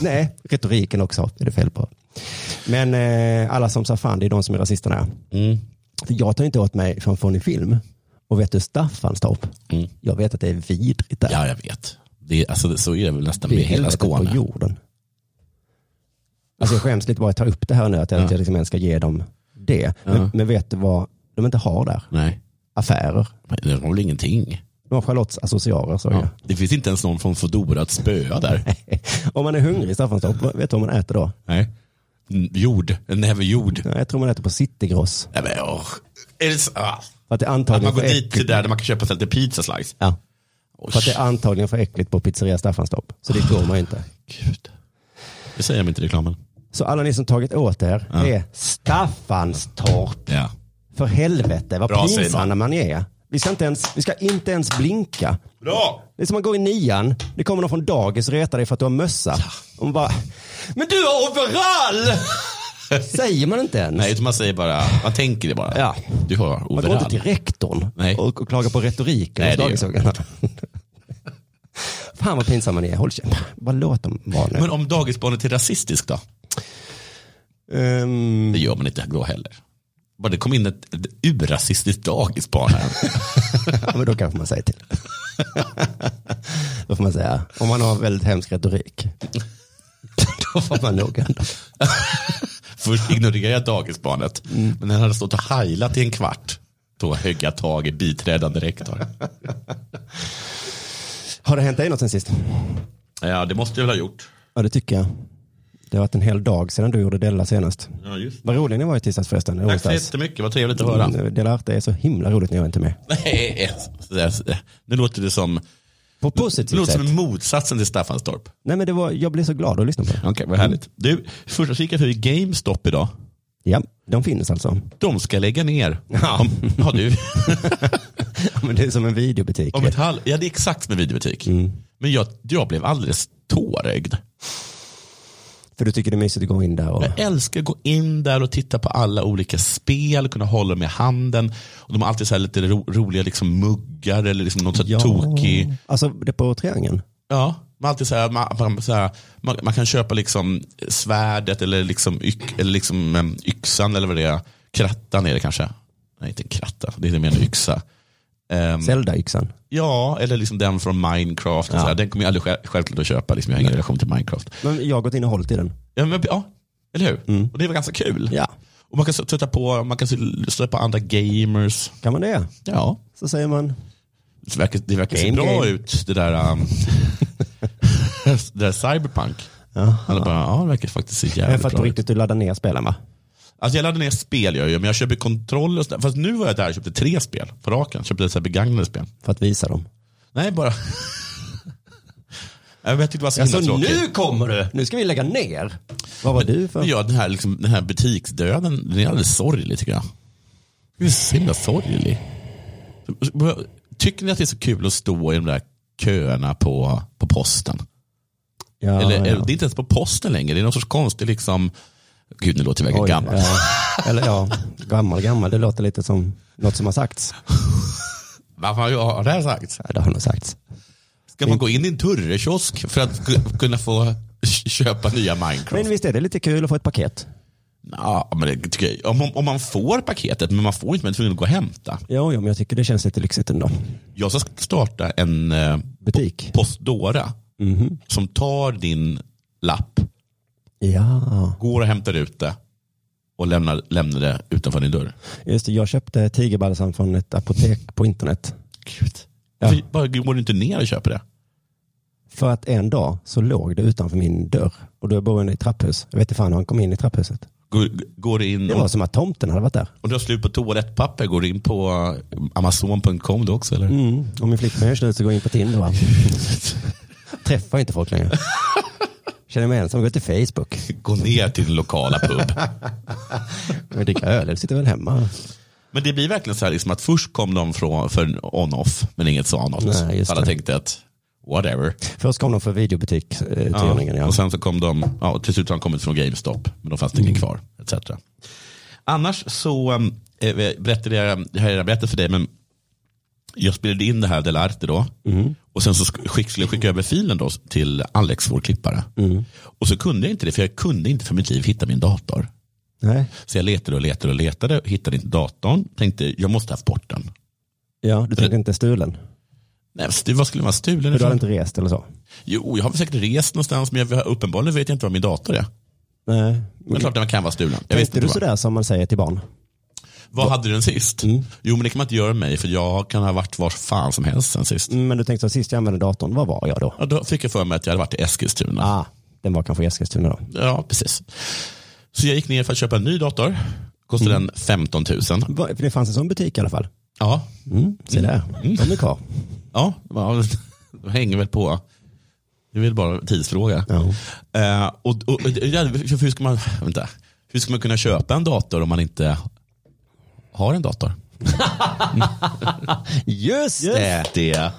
[SPEAKER 1] Nej, retoriken också är det fel på. Men eh, alla som sa fan, det är de som är rasisterna. Mm. Så jag tar inte åt mig från Fonny Film. Och vet du Staffanstorp? Jag vet att det är vidrigt där.
[SPEAKER 2] Ja, jag vet. Det är, alltså, så är det väl nästan
[SPEAKER 1] det är
[SPEAKER 2] med hela
[SPEAKER 1] helvetet på
[SPEAKER 2] Skåne.
[SPEAKER 1] jorden. Alltså jag skäms lite bara att ta upp det här nu, att jag inte liksom ens ska ge dem det. Men, men vet du vad de inte har där?
[SPEAKER 2] Nej,
[SPEAKER 1] Affärer.
[SPEAKER 2] men det har väl ingenting.
[SPEAKER 1] De har Charlottes associarer, såg jag.
[SPEAKER 2] Det finns inte ens någon från Fodora att spöa där.
[SPEAKER 1] Om man är hungrig i Staffanstorp, vad- vet du vad man äter då?
[SPEAKER 2] Nej. Mm, Jord, en näve jord.
[SPEAKER 1] Ja, Jag tror man äter på Citygross.
[SPEAKER 2] Nej, men, åh. Är det så? Ah.
[SPEAKER 1] För att det är
[SPEAKER 2] Att
[SPEAKER 1] antagligen
[SPEAKER 2] man går
[SPEAKER 1] för
[SPEAKER 2] dit till
[SPEAKER 1] äckligt.
[SPEAKER 2] där, där man kan köpa sig lite pizza slice.
[SPEAKER 1] Ja.
[SPEAKER 2] Åh,
[SPEAKER 1] För att det är antagligen för äckligt på pizzeria Staffanstorp. Så det går man ju inte.
[SPEAKER 2] Gud. Det säger de inte i reklamen.
[SPEAKER 1] Så alla ni som tagit åt er, det är Staffanstorp.
[SPEAKER 2] Ja.
[SPEAKER 1] För helvete vad
[SPEAKER 2] Bra,
[SPEAKER 1] pinsamma
[SPEAKER 2] Simon.
[SPEAKER 1] man är. Vi ska, inte ens, vi ska inte ens blinka.
[SPEAKER 2] Bra!
[SPEAKER 1] Det är som att gå i nian, det kommer någon från dagis och retar dig för att du har mössa. Och man bara, men du har overall! Säger man inte ens.
[SPEAKER 2] Nej, utan man säger bara, man tänker det bara.
[SPEAKER 1] Ja.
[SPEAKER 2] Du har
[SPEAKER 1] man går inte
[SPEAKER 2] overall.
[SPEAKER 1] till rektorn
[SPEAKER 2] Nej.
[SPEAKER 1] och, och klagar på retoriken
[SPEAKER 2] Nej,
[SPEAKER 1] hos
[SPEAKER 2] det gör
[SPEAKER 1] dagisungarna. Fan vad pinsamma ni är, håll käften. Bara låt dem vara nu.
[SPEAKER 2] Men om dagisbarnet är rasistiskt då?
[SPEAKER 1] Ehm,
[SPEAKER 2] Det gör man inte då heller. Bara det kom in ett, ett urrasistiskt dagisbarn här.
[SPEAKER 1] Ja, men då kanske man säger till. då får man säga, om man har väldigt hemsk retorik, då får man nog ändå.
[SPEAKER 2] Först ignorerade jag dagisbarnet. Men när han hade stått och hajlat i en kvart. Då högg jag tag i biträdande rektor.
[SPEAKER 1] Har det hänt dig något sen sist?
[SPEAKER 2] Ja, det måste jag väl ha gjort.
[SPEAKER 1] Ja, det tycker jag. Det har varit en hel dag sedan du gjorde Della senast.
[SPEAKER 2] Ja, just.
[SPEAKER 1] Vad rolig ni var i tisdags förresten. eller
[SPEAKER 2] Tack så
[SPEAKER 1] onsdags.
[SPEAKER 2] jättemycket, vad trevligt att höra.
[SPEAKER 1] Mm, Della Arte är så himla roligt när jag inte är med.
[SPEAKER 2] Nej, nu låter det som,
[SPEAKER 1] På
[SPEAKER 2] det
[SPEAKER 1] positivt
[SPEAKER 2] låter
[SPEAKER 1] sätt.
[SPEAKER 2] som motsatsen till Staffanstorp.
[SPEAKER 1] Nej, men det var, jag blev så glad att lyssna på det.
[SPEAKER 2] Okej, vad härligt. Du, första kikade jag för GameStop idag.
[SPEAKER 1] Ja, de finns alltså.
[SPEAKER 2] De ska lägga ner. Om, ja, du.
[SPEAKER 1] Men det är som en videobutik.
[SPEAKER 2] Om ett halv, ja, det är exakt som en videobutik. Men jag, jag blev alldeles tårögd.
[SPEAKER 1] För du tycker det är mysigt att gå in där och...
[SPEAKER 2] Jag älskar att gå in där och titta på alla olika spel, kunna hålla dem i handen. Och de har alltid så här lite ro, roliga liksom muggar eller liksom någon så här tokig.
[SPEAKER 1] Alltså, det på triangeln.
[SPEAKER 2] Ja, man, har alltid så här, man, man, så här, man, man kan köpa liksom svärdet eller, liksom yx, eller liksom, em, yxan eller vad det är. Krattan är det kanske. Nej, inte en kratta. Det är mer en yxa. Ehm,
[SPEAKER 1] Zelda-yxan.
[SPEAKER 2] Ja, eller liksom den från Minecraft. Och
[SPEAKER 1] Ja.
[SPEAKER 2] så här. Den kommer jag aldrig själv, självklart att köpa. Liksom. Jag har ingen relation till Minecraft.
[SPEAKER 1] Men jag har gått in och hållit i den.
[SPEAKER 2] Ja, men, ja eller hur? Och det var ganska kul.
[SPEAKER 1] Ja.
[SPEAKER 2] Och man kan så- stöta på, man kan så- stöta på andra gamers.
[SPEAKER 1] Kan man det?
[SPEAKER 2] Ja,
[SPEAKER 1] Så säger man.
[SPEAKER 2] det verkar, det verkar se
[SPEAKER 1] Game,
[SPEAKER 2] bra
[SPEAKER 1] game.
[SPEAKER 2] ut det där, um, det där Cyberpunk. Alla bara, ja, det verkar faktiskt se
[SPEAKER 1] Men
[SPEAKER 2] jävligt
[SPEAKER 1] för att på
[SPEAKER 2] bra ut.
[SPEAKER 1] riktigt du laddar ner spelen va?
[SPEAKER 2] Alltså jag laddar ner spel, jag gör, men jag köper kontroller. och sådär. Fast nu var jag där och köpte tre spel på raken. Köpte så här begagnade spel.
[SPEAKER 1] För att visa dem.
[SPEAKER 2] Nej, bara... Nej, men jag tyckte det var så himla tråkigt.
[SPEAKER 1] kommer du! Nu ska vi lägga ner. Vad var du för?
[SPEAKER 2] Men ja, den här, liksom, den här butiksdöden, den är alldeles sorglig tycker jag. Den är så himla sorglig. Tycker ni att det är så kul att stå i de där köerna på, på posten?
[SPEAKER 1] Ja,
[SPEAKER 2] eller,
[SPEAKER 1] ja.
[SPEAKER 2] eller, det är inte ens på posten längre, det är någon sorts konstig liksom, gud nu låter jag verkligen
[SPEAKER 1] Oj,
[SPEAKER 2] gammal.
[SPEAKER 1] Ja. Eller ja, gammal, gammal. Det låter lite som något som har sagts.
[SPEAKER 2] Varför har jag det här sagt?
[SPEAKER 1] Ja, det har nog sagts.
[SPEAKER 2] Ska man gå in i en turrekiosk för att ku- kunna få köpa nya Minecraft?
[SPEAKER 1] Men visst är det lite kul att få ett paket?
[SPEAKER 2] Ja, men det tycker jag. Om, om man får paketet, men man får inte, man är tvungen att gå och hämta.
[SPEAKER 1] Jo, jo, men jag tycker det känns lite lyxigt ändå.
[SPEAKER 2] Jag ska starta en eh,
[SPEAKER 1] Butik.
[SPEAKER 2] Postdora
[SPEAKER 1] Mhm.
[SPEAKER 2] som tar din lapp,
[SPEAKER 1] Ja,
[SPEAKER 2] går och hämtar ut det och lämnar, lämnar det utanför din dörr.
[SPEAKER 1] just det. Jag köpte tigerbalsam från ett apotek på internet.
[SPEAKER 2] Gud. Varför bara går du inte ner och köper det?
[SPEAKER 1] För att en dag så låg det utanför min dörr och då bor jag i ett trapphus. Jag vet inte fan hur han kom in i trapphuset.
[SPEAKER 2] Går, går du in
[SPEAKER 1] Det var
[SPEAKER 2] och,
[SPEAKER 1] som att tomten hade varit där.
[SPEAKER 2] och du har slut på toalettpapper, går du in på eh, amazon.com då också eller?
[SPEAKER 1] Mm. Och min flickvän gör slut så går jag in på Tinder. Va? Träffar inte folk längre. Känner mig ensam, går till Facebook.
[SPEAKER 2] Gå ner till den lokala pub.
[SPEAKER 1] Jag dricker öl, jag sitter väl hemma.
[SPEAKER 2] Men det blir verkligen så här liksom att först kom de från, för on-off, men inget så on-off.
[SPEAKER 1] Nej, just
[SPEAKER 2] Alla
[SPEAKER 1] det.
[SPEAKER 2] tänkte att whatever.
[SPEAKER 1] Först kom de för videobutiksutgivningen. Ja.
[SPEAKER 2] Och sen så kom de, ja, till slut har de kommit från GameStop, men då fanns det ingen kvar. Etc. Annars så um, eh, berättade jag, det här jag berättat för dig, men jag spelade in det här Delarte då. Och sen så sk- skick, skulle jag skicka över filen då till Alex, vår klippare. Och så kunde jag inte det, för jag kunde inte för mitt liv hitta min dator.
[SPEAKER 1] Nej.
[SPEAKER 2] Så jag letade och letade och letade, hittade inte datorn. Tänkte, jag måste ha haft bort den.
[SPEAKER 1] ja, du tänkte inte stulen?
[SPEAKER 2] Nej, stu- vad skulle man stulen
[SPEAKER 1] För du
[SPEAKER 2] ifrån?
[SPEAKER 1] hade inte rest eller så?
[SPEAKER 2] Jo, jag har väl säkert rest någonstans, men jag, uppenbarligen vet jag inte var min dator är.
[SPEAKER 1] Nej.
[SPEAKER 2] Men klart den kan vara stulen. Jag visste
[SPEAKER 1] Tänkte du
[SPEAKER 2] inte bara.
[SPEAKER 1] sådär Mm. som man säger till barn?
[SPEAKER 2] Vad hade du den sist? Jo, men det kan man inte göra med mig, för jag kan ha varit var fan som helst sen sist.
[SPEAKER 1] Mm, Men du tänkte så sist jag använde datorn, vad var jag då?
[SPEAKER 2] Ja, då fick jag för mig att jag hade varit i Eskilstuna.
[SPEAKER 1] Ah, den var kanske i Eskilstuna då.
[SPEAKER 2] Ja, precis. Så jag gick ner för att köpa en ny dator. Kostade
[SPEAKER 1] Mm.
[SPEAKER 2] den 15 000.
[SPEAKER 1] Va- För det fanns en sån butik i alla fall.
[SPEAKER 2] Ja,
[SPEAKER 1] Mm, se där, de är kvar.
[SPEAKER 2] ja. ja det hänger väl på. Det är väl bara en tidsfråga.
[SPEAKER 1] Ja.
[SPEAKER 2] Eh, och, och, och, ja, för hur, ska man, vänta, hur ska man kunna köpa en dator om man inte har en dator?
[SPEAKER 1] Just det!
[SPEAKER 2] det.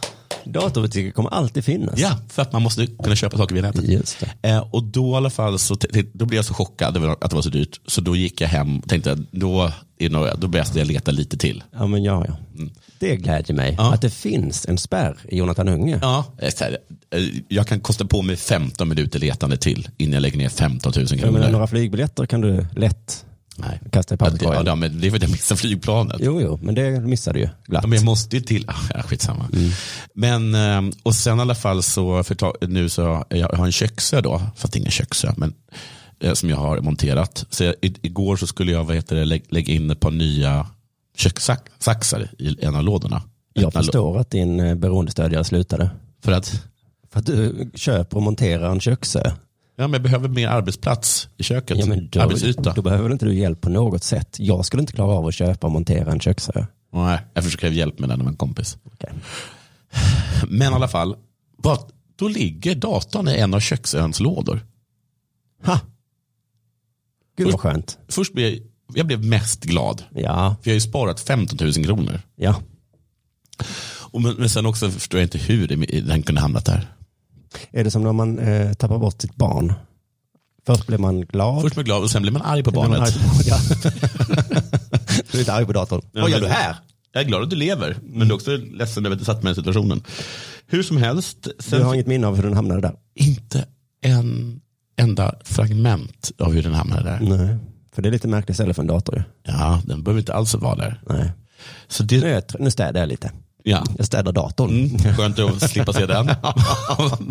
[SPEAKER 1] Datorbutiker kommer alltid finnas.
[SPEAKER 2] Ja, för att man måste kunna köpa saker via nätet.
[SPEAKER 1] Just det.
[SPEAKER 2] Eh, och då i alla fall så t- t- då blev jag så chockad över att det var så dyrt. Så då gick jag hem och tänkte att då, är det några- då började jag leta lite till.
[SPEAKER 1] Ja, men ja, ja. Det glädjer mig
[SPEAKER 2] Mm. Ja.
[SPEAKER 1] att det finns en spärr i Jonathan Unge.
[SPEAKER 2] Ja, eh, så här, eh, jag kan kosta på mig 15 minuter letande till innan jag lägger ner 15 000
[SPEAKER 1] Jag menar,
[SPEAKER 2] kronor.
[SPEAKER 1] några flygbiljetter kan du lätt
[SPEAKER 2] Nej.
[SPEAKER 1] kasta i
[SPEAKER 2] Ja, det,
[SPEAKER 1] papperskorgen.
[SPEAKER 2] ja, men det är för att jag missar flygplanet.
[SPEAKER 1] Jo, jo, men det missar du ju glatt.
[SPEAKER 2] Ja, men jag måste ju till, ah, ja, skitsamma.
[SPEAKER 1] Mm.
[SPEAKER 2] Men, eh, och sen i alla fall så, för ta, nu så, jag har en köksö då, fast ingen köksö, men eh, som jag har monterat. Så jag, i, igår så skulle jag vad heter det, lä, lägga in ett par nya kökssaxar i en av lådorna.
[SPEAKER 1] Jag
[SPEAKER 2] Öppna lå-
[SPEAKER 1] förstår att din eh, beroendestödjare slutade.
[SPEAKER 2] För att
[SPEAKER 1] För att du köper och monterar en köksö.
[SPEAKER 2] ja, men jag behöver mer arbetsplats i köket,
[SPEAKER 1] Ja, men då,
[SPEAKER 2] arbetsyta.
[SPEAKER 1] då behöver väl inte du hjälp på något sätt. Jag skulle inte klara av att köpa och montera en köksö.
[SPEAKER 2] Nej, jag försöker hjälp med den av en kompis. Men i alla fall, vad, då ligger datorn i en av köksöns lådor.
[SPEAKER 1] Ha! Gud vad skönt.
[SPEAKER 2] Först blev jag, jag blev mest glad.
[SPEAKER 1] Ja,
[SPEAKER 2] För jag har ju sparat 15 000 kronor.
[SPEAKER 1] ja.
[SPEAKER 2] Och men, men sen också förstår jag inte hur det- den kunde hamnat där.
[SPEAKER 1] Är det som när man eh, tappar bort sitt barn? Först blir man glad.
[SPEAKER 2] Först blev jag glad och sen blev man arg på
[SPEAKER 1] Sen blir man
[SPEAKER 2] barnet.
[SPEAKER 1] arg på- Ja. du är inte arg på datorn.
[SPEAKER 2] Ja,
[SPEAKER 1] Vad gör
[SPEAKER 2] men-
[SPEAKER 1] du här?
[SPEAKER 2] Jag är glad att du lever, men du är också ledsen över att du satt med i situationen. Hur som helst,
[SPEAKER 1] Du
[SPEAKER 2] sen
[SPEAKER 1] har inget minne av hur den hamnade där?
[SPEAKER 2] inte en enda fragment av hur den hamnade där.
[SPEAKER 1] Nej. För det är lite märkligt ställe för en dator ju.
[SPEAKER 2] Ja, den behöver inte alls vara där.
[SPEAKER 1] Nej.
[SPEAKER 2] Så
[SPEAKER 1] Nu, är
[SPEAKER 2] det,
[SPEAKER 1] jag, trö- nu städar jag lite.
[SPEAKER 2] ja.
[SPEAKER 1] Jag städar datorn.
[SPEAKER 2] Mm, skönt att slippa se den.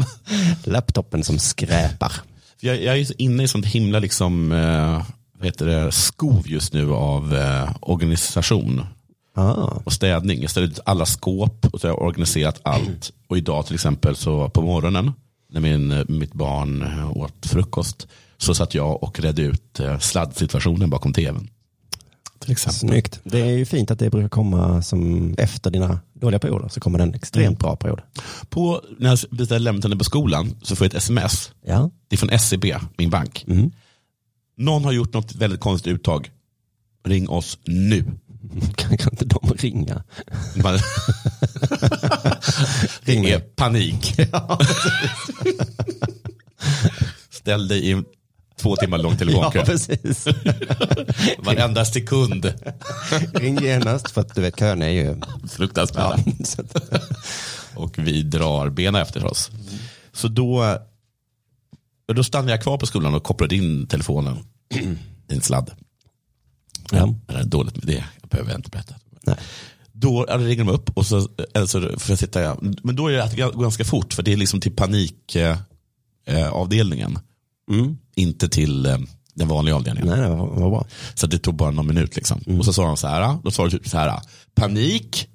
[SPEAKER 1] Laptopen som skräpar.
[SPEAKER 2] För Jag, jag är ju så inne i sånt himla liksom, eh, vad heter det, skov just nu av eh, organisation
[SPEAKER 1] Ah.
[SPEAKER 2] och städning. Jag ställde ut alla skåp och så har jag organiserat allt. Och idag till exempel så på morgonen när min, eh, mitt barn eh, åt frukost så satt jag och redde ut eh, sladdsituationen bakom tvn. Till exempel.
[SPEAKER 1] Snyggt. Det är ju fint att det brukar komma som efter dina dåliga perioder så kommer det en
[SPEAKER 2] Mm.
[SPEAKER 1] extremt bra period.
[SPEAKER 2] På, när jag beställde lämnat henne på skolan så får jag ett sms.
[SPEAKER 1] Ja.
[SPEAKER 2] Det är från SEB, min bank.
[SPEAKER 1] Mm.
[SPEAKER 2] Någon har gjort något väldigt konstigt uttag. Ring oss nu.
[SPEAKER 1] Kan, kan inte de ringa?
[SPEAKER 2] Man- det
[SPEAKER 1] Ring mig.
[SPEAKER 2] är panik. Ställ dig i en två timmar lång telefonkö.
[SPEAKER 1] precis.
[SPEAKER 2] Varenda sekund.
[SPEAKER 1] Ring genast för att du vet kön är ju...
[SPEAKER 2] Fruktansvärda.
[SPEAKER 1] Ja. Så att-
[SPEAKER 2] Och vi drar benen efter oss. Så då, då stannade jag kvar på skolan och kopplade in telefonen i en sladd.
[SPEAKER 1] ja.
[SPEAKER 2] Men det är dåligt med det. Jag behöver inte berätta.
[SPEAKER 1] Nej.
[SPEAKER 2] Då ja, då ringer de upp och så, eller så får jag sitta. ja. Men då är det att det går ganska fort för det är liksom till panikavdelningen. Eh, avdelningen. Inte till eh, den vanliga avdelningen.
[SPEAKER 1] Mm. Nej, Mm. nej, vad, vad bra. Mm.
[SPEAKER 2] Så det tog bara någon minut. Liksom. Och så sa de så här. Då sa de typ så här. Panik.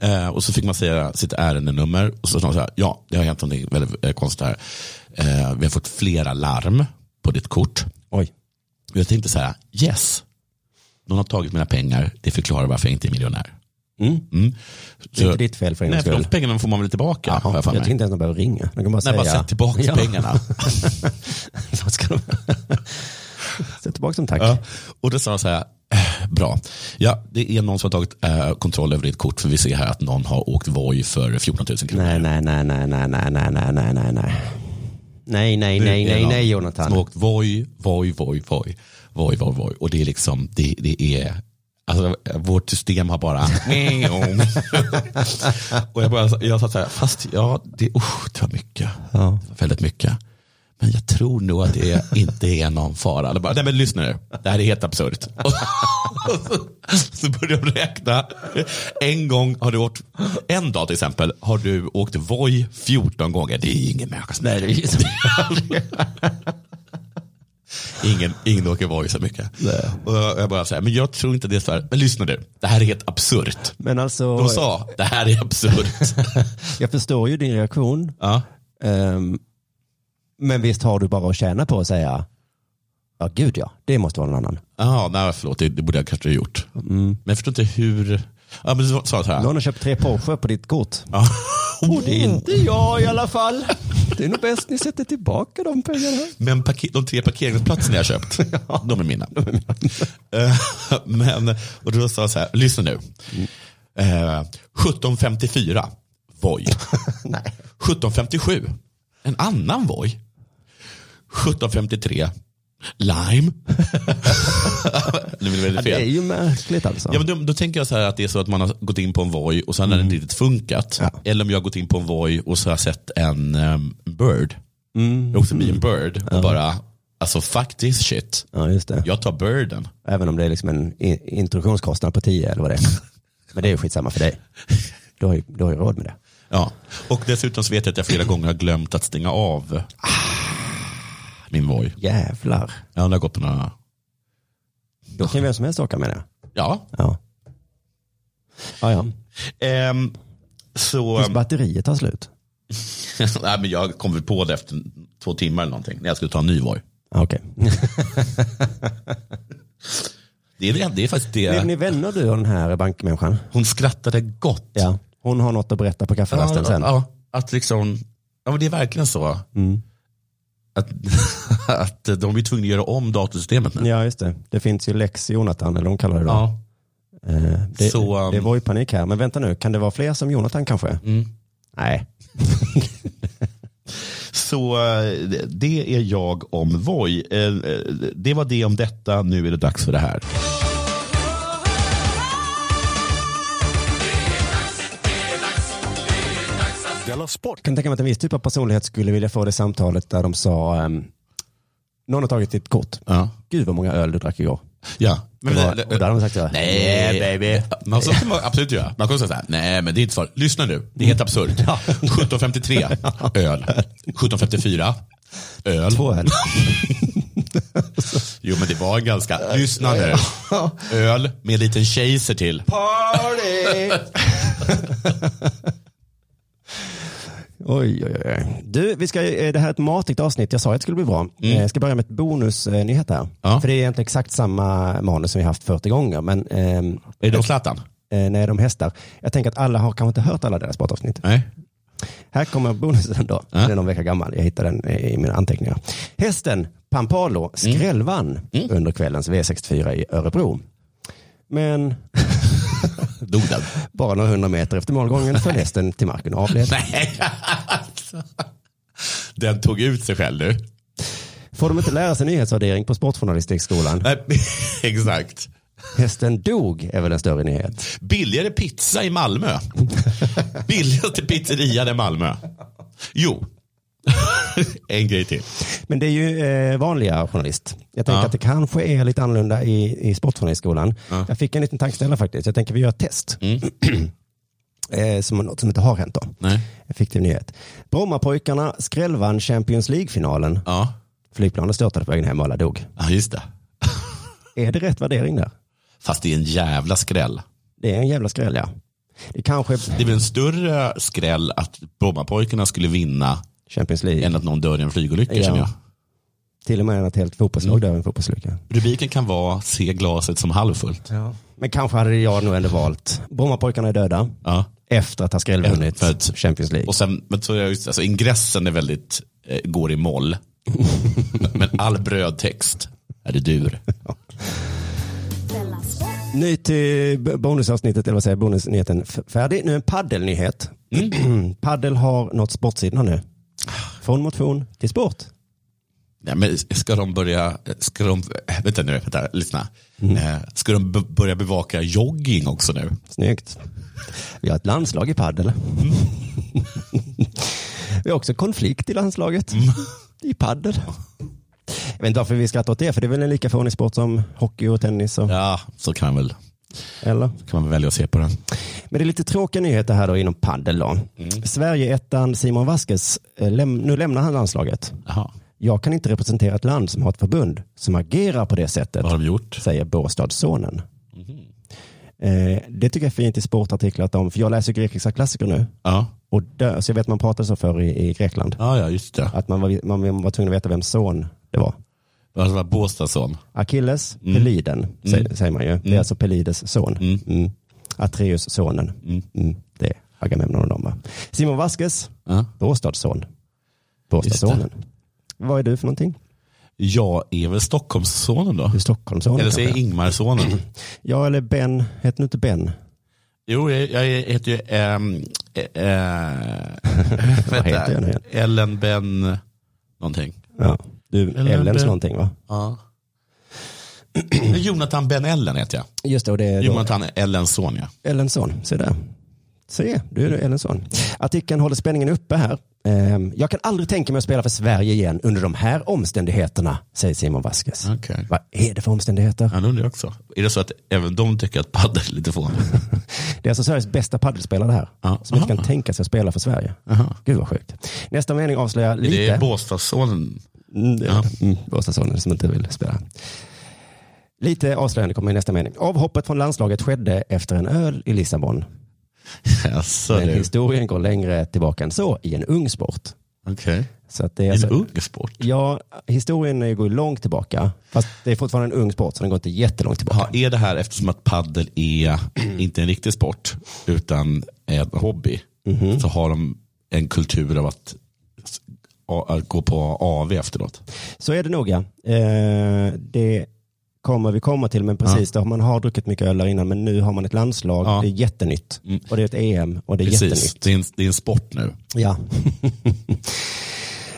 [SPEAKER 2] Eh, och så fick man säga sitt ärendenummer. Och så sa de så här, ja, det har hänt någonting väldigt eh, konstigt här. Eh, vi har fått flera larm på ditt kort.
[SPEAKER 1] Oj.
[SPEAKER 2] Och jag tänkte så här, yes, någon har tagit mina pengar. Det förklarar varför jag inte är miljonär.
[SPEAKER 1] Mm.
[SPEAKER 2] Mm.
[SPEAKER 1] Det är inte ditt fel för en
[SPEAKER 2] Nej,
[SPEAKER 1] gångs
[SPEAKER 2] för de
[SPEAKER 1] skull.
[SPEAKER 2] pengarna får man väl tillbaka.
[SPEAKER 1] Jaha,
[SPEAKER 2] har jag
[SPEAKER 1] jag
[SPEAKER 2] för
[SPEAKER 1] tycker
[SPEAKER 2] mig.
[SPEAKER 1] inte ens de behöver ringa. De kan bara
[SPEAKER 2] Nej, bara
[SPEAKER 1] säga...
[SPEAKER 2] sätt tillbaka
[SPEAKER 1] Ja.
[SPEAKER 2] pengarna.
[SPEAKER 1] Vad ska de... Sätt tillbaka dem tack.
[SPEAKER 2] Ja. Och då sa han så här, "Eh, bra. Ja, det är någon som har tagit eh, kontroll över ditt kort för vi ser här att någon har åkt Voi för 14 000 kronor.
[SPEAKER 1] Nej, nej, nej, nej, nej, nej, nej, nej, nej, nej, nej. Nej, nej,
[SPEAKER 2] Nu
[SPEAKER 1] nej, nej,
[SPEAKER 2] är någon
[SPEAKER 1] nej,
[SPEAKER 2] Som har
[SPEAKER 1] Jonathan.
[SPEAKER 2] åkt Voi, Voi, Voi, Voi, Voi, Voi, Voi. Och det är liksom, det, det är, alltså vårt system har bara, och jag, bara, jag satt så här, fast ja, det, usch, det var mycket.
[SPEAKER 1] Ja.
[SPEAKER 2] Det var väldigt mycket. Men jag tror nog att det inte är någon fara. De Bara, Nej men lyssna nu, det här är helt absurt. Och så- Så började de räkna. En gång har du åkt, en dag till exempel, har du åkt Voi 14 gånger. Det är ingen människa som Nej, Ingen, ingen åker Voi så mycket. Och jag bara så här, men jag tror inte det är så här. Men lyssna nu, det här är helt absurt.
[SPEAKER 1] Men alltså,
[SPEAKER 2] De sa, det här är absurt.
[SPEAKER 1] jag förstår ju din reaktion.
[SPEAKER 2] Ja.
[SPEAKER 1] Ehm, men visst har du bara att tjäna på att säga, ja gud ja, det måste vara någon annan.
[SPEAKER 2] Ja, nej förlåt, det, det borde jag kanske ha gjort. Men jag förstår inte hur... Ja, men så, så så här.
[SPEAKER 1] Någon har köpt tre Porsche på ditt kort.
[SPEAKER 2] Ja.
[SPEAKER 1] Och det är inte jag i alla fall. Det är nog bäst ni sätter tillbaka de pengarna.
[SPEAKER 2] Men parke- de tre parkeringsplatserna jag har köpt, de är mina. Eh, men, och då sa jag så här, lyssna nu. Eh, 1754, Voi.
[SPEAKER 1] Nej.
[SPEAKER 2] 1757, en annan Voi. 1753, Lime. nu
[SPEAKER 1] Ja,
[SPEAKER 2] blir det väldigt
[SPEAKER 1] det är
[SPEAKER 2] fel.
[SPEAKER 1] ju märkligt alltså.
[SPEAKER 2] Ja, men då, då tänker jag så här att det är så att man har gått in på en Voi och sen har den inte riktigt funkat.
[SPEAKER 1] Mm. Ja.
[SPEAKER 2] Eller om jag har gått in på en Voi och så har jag sett en ehm, Bird.
[SPEAKER 1] Mm.
[SPEAKER 2] Jag har åkt förbi en Bird och bara, alltså fuck this shit.
[SPEAKER 1] Ja, just det.
[SPEAKER 2] Jag tar Birden.
[SPEAKER 1] Även om det är liksom en i- introduktionskostnad på 10 eller vad det är. Men det är ju skitsamma för dig. Du har ju, du har ju råd med det.
[SPEAKER 2] Ja. Och dessutom så vet jag att jag flera gånger har glömt att stänga av ah, min Voi.
[SPEAKER 1] Jävlar.
[SPEAKER 2] Jag har gått på några,
[SPEAKER 1] Då kan vem som helst åka med det.
[SPEAKER 2] ja.
[SPEAKER 1] Ja. Ja, ja.
[SPEAKER 2] Ehm, så,
[SPEAKER 1] Tills batteriet tar slut.
[SPEAKER 2] nej, men jag kom väl på det efter två timmar eller någonting när jag skulle ta en ny Voi.
[SPEAKER 1] Ja, Okej.
[SPEAKER 2] Det är, det, det är faktiskt
[SPEAKER 1] Blev ni
[SPEAKER 2] det.
[SPEAKER 1] vänner du och den här bankmänniskan?
[SPEAKER 2] Hon skrattade gott.
[SPEAKER 1] Ja. Hon har något att berätta på kafferasten sen.
[SPEAKER 2] Ja, att liksom, ja men det är verkligen så.
[SPEAKER 1] Mm.
[SPEAKER 2] Att, att de är tvungna att göra om datorsystemet nu.
[SPEAKER 1] Ja, just det. Det finns ju Lex Jonathan, eller de kallar det då.
[SPEAKER 2] Ja.
[SPEAKER 1] Eh, Det,
[SPEAKER 2] Så, um, Mm.
[SPEAKER 1] det var ju panik här, men vänta nu, kan det vara fler som Jonathan kanske? Nej.
[SPEAKER 2] Så eh, det- det är jag om Voi. Eh, eh, Det var det om detta, nu är det dags för det här.
[SPEAKER 3] Della Sport!
[SPEAKER 1] Jag kan tänka mig att en viss typ av personlighet skulle vilja få det samtalet där de sa, ehm, någon har tagit ditt kort.
[SPEAKER 2] Ja.
[SPEAKER 1] Gud vad många öl du drack igår.
[SPEAKER 2] ja. Men,
[SPEAKER 1] Det var- och där har de sagt så här,
[SPEAKER 2] Nej baby. Man så kan man absolut göra. Man kan säga så här, nej men det är inte farligt. Lyssna nu, det är helt absurt. 1753, öl. 1754, öl.
[SPEAKER 1] Två öl.
[SPEAKER 2] Jo men det var en ganska, lyssna nu. Öl med en liten kejser till.
[SPEAKER 1] Party! oj, oj, oj. Du, vi ska, eh, det här är ett matigt avsnitt. Jag sa att det skulle bli bra. Eh, Jag ska börja med ett bonusnyhet här.
[SPEAKER 2] Ja.
[SPEAKER 1] För det är egentligen exakt samma manus som vi haft 40 gånger. Men ehm,
[SPEAKER 2] Är det då Zlatan?
[SPEAKER 1] eh, när de hästar. Jag tänker att alla har kanske inte hört alla deras sportavsnitt.
[SPEAKER 2] Nej.
[SPEAKER 1] Här kommer bonusen då. Den är någon vecka gammal. Jag hittade den eh, i mina anteckningar. Hästen Pampalo skrällvann under kvällens V64 i Örebro. Men
[SPEAKER 2] Dog den?
[SPEAKER 1] bara några hundra meter efter målgången föll hästen till marken och avled.
[SPEAKER 2] Nej. alltså. Den tog ut sig själv nu.
[SPEAKER 1] Får de inte lära sig nyhetsvärdering på Sportjournalistikskolan?
[SPEAKER 2] Nej, exakt.
[SPEAKER 1] Hästen dog är väl en större nyhet.
[SPEAKER 2] Billigare pizza i Malmö. Billigaste pizzerian i Malmö. Jo. en grej till.
[SPEAKER 1] Men det är ju eh, vanliga journalist. Jag tänker
[SPEAKER 2] Ja.
[SPEAKER 1] att det kanske är lite annorlunda i, i Sportjournalistskolan. Jag fick en liten tankeställare faktiskt. Jag tänker vi gör ett test.
[SPEAKER 2] Mm.
[SPEAKER 1] eh, som något som inte har hänt då.
[SPEAKER 2] Nej.
[SPEAKER 1] En fiktiv nyhet. Brommapojkarna skrällvann Champions League-finalen.
[SPEAKER 2] Ja,
[SPEAKER 1] Flygplanet störtade på vägen hem och alla dog.
[SPEAKER 2] ja just det.
[SPEAKER 1] Är det rätt värdering där?
[SPEAKER 2] Fast det är en jävla skräll.
[SPEAKER 1] Det är en jävla skräll ja. Det kanske
[SPEAKER 2] Det är väl en större skräll att Brommapojkarna skulle vinna
[SPEAKER 1] Champions League.
[SPEAKER 2] än att någon dör i en flygolycka
[SPEAKER 1] Ja.
[SPEAKER 2] känner jag.
[SPEAKER 1] Till och med att helt fotbollslag
[SPEAKER 2] Mm.
[SPEAKER 1] dör i en fotbollslycka.
[SPEAKER 2] Rubriken kan vara se glaset som halvfullt.
[SPEAKER 1] Men kanske hade jag nog ändå valt. Brommapojkarna är döda
[SPEAKER 2] Ja.
[SPEAKER 1] efter att Haskrell
[SPEAKER 2] Ja,
[SPEAKER 1] vunnit
[SPEAKER 2] för att-
[SPEAKER 1] Champions League.
[SPEAKER 2] Och sen, men så är jag just, alltså ingressen är väldigt, eh, går i moll. men all brödtext är det dur.
[SPEAKER 4] Della Sport.
[SPEAKER 1] Ny till b- bonusavsnittet, eller vad säger jag, bonusnyheten f- färdig. Nu en paddelnyhet.
[SPEAKER 2] Mm.
[SPEAKER 1] Paddel har nått sportsidorna nu. Från motion till sport.
[SPEAKER 2] Ja, men ska de börja, ska de, äh, vänta nu, vänta, lyssna. Eh, Ska de b- börja bevaka jogging också nu?
[SPEAKER 1] Snyggt. Vi har ett landslag i paddel.
[SPEAKER 2] Mm.
[SPEAKER 1] Vi har också konflikt i landslaget.
[SPEAKER 2] Mm.
[SPEAKER 1] I paddel. Jag vet inte varför vi skrattar åt det, för det är väl en lika fånig sport som hockey och tennis. Och,
[SPEAKER 2] Ja, så kan man väl,
[SPEAKER 1] eller?
[SPEAKER 2] kan man väl välja att se på den.
[SPEAKER 1] Men det är lite tråkiga nyheter här då inom paddel. Då. Sverige-ettan Simon Vasquez, eh, läm- nu lämnar han landslaget.
[SPEAKER 2] Jaha,
[SPEAKER 1] Jag kan inte representera ett land som har ett förbund som agerar på det sättet,
[SPEAKER 2] vad har de gjort?
[SPEAKER 1] säger Båstadssonen. Eh, det tycker jag är fint i sportartiklar, att de, för jag läser grekiska klassiker nu.
[SPEAKER 2] Ja,
[SPEAKER 1] Och dö, så jag vet man pratade så förr i, i Grekland.
[SPEAKER 2] ja, ja just det.
[SPEAKER 1] Att man var, man var tvungen att veta vem son det var.
[SPEAKER 2] Alltså, Vad var Båstadsson?
[SPEAKER 1] Achilles, Peliden, sä- säger man ju. Det är alltså Pelides son. Mm. Atreus, sonen. Mm. Det är Agamemnon och dem, va? Simon Vasquez,
[SPEAKER 2] Ja.
[SPEAKER 1] Båstadsson. Båstadssonen. Vad är du för någonting?
[SPEAKER 2] Jag är väl Stockholmssonen då?
[SPEAKER 1] Du är Stockholmssonen
[SPEAKER 2] Eller så är jag
[SPEAKER 1] kanske?
[SPEAKER 2] Ingmarssonen.
[SPEAKER 1] Ja, eller Ben. Heter du inte Ben?
[SPEAKER 2] Jo, jag, jag heter ju... ehm, eh, eh, vänta.
[SPEAKER 1] heter jag nu igen?
[SPEAKER 2] Ellen Ben någonting.
[SPEAKER 1] Ja. Du,
[SPEAKER 2] Eller
[SPEAKER 1] Ellens
[SPEAKER 2] Ben.
[SPEAKER 1] någonting, va?
[SPEAKER 2] Ja. Jonathan Ben Ellen heter jag.
[SPEAKER 1] Just det, och det är då-
[SPEAKER 2] Jonathan Ellens son ja.
[SPEAKER 1] Ellensson, se där. Se, du är Ellensson. Artikeln håller spänningen uppe här. Ehm, Jag kan aldrig tänka mig att spela för Sverige igen under de här omständigheterna, säger Simon Vasquez.
[SPEAKER 2] Okej.
[SPEAKER 1] Vad är det för omständigheter?
[SPEAKER 2] Han undrar jag också. Är det så att även de tycker att padel är lite fånigt?
[SPEAKER 1] Det är alltså Sveriges bästa paddelspelare här,
[SPEAKER 2] Ja.
[SPEAKER 1] som inte
[SPEAKER 2] Aha.
[SPEAKER 1] kan tänka sig att spela för Sverige.
[SPEAKER 2] Aha.
[SPEAKER 1] Gud vad sjukt. Nästa mening avslöjar lite.
[SPEAKER 2] Det är Båstadssonen.
[SPEAKER 1] Mm, det är
[SPEAKER 2] Ja.
[SPEAKER 1] det. Mm, Båstadssonen som inte vill spela. Lite avslöjande kommer i nästa mening. Avhoppet från landslaget skedde efter en öl i Lissabon.
[SPEAKER 2] Jaså
[SPEAKER 1] Men
[SPEAKER 2] du.
[SPEAKER 1] historien går längre tillbaka än så i en ung sport.
[SPEAKER 2] Okej.
[SPEAKER 1] Så att det är
[SPEAKER 2] En
[SPEAKER 1] alltså,
[SPEAKER 2] ung sport.
[SPEAKER 1] Ja, historien går ju långt tillbaka. Fast det är fortfarande en ung sport, så den går inte jättelångt tillbaka.
[SPEAKER 2] Ja, är det här eftersom att paddel är inte en riktig sport utan en hobby så har de en kultur av att, s- a- att gå på AV efteråt.
[SPEAKER 1] Så är det nog, ja. Eh, det kommer vi komma till, men precis, då, man har druckit mycket öl där innan, men nu har man ett landslag,
[SPEAKER 2] Ja. Mm.
[SPEAKER 1] det är jättenytt. Och det är ett EM, och det är
[SPEAKER 2] Precis,
[SPEAKER 1] jättenytt.
[SPEAKER 2] det är, en, det är en sport nu.
[SPEAKER 1] Ja.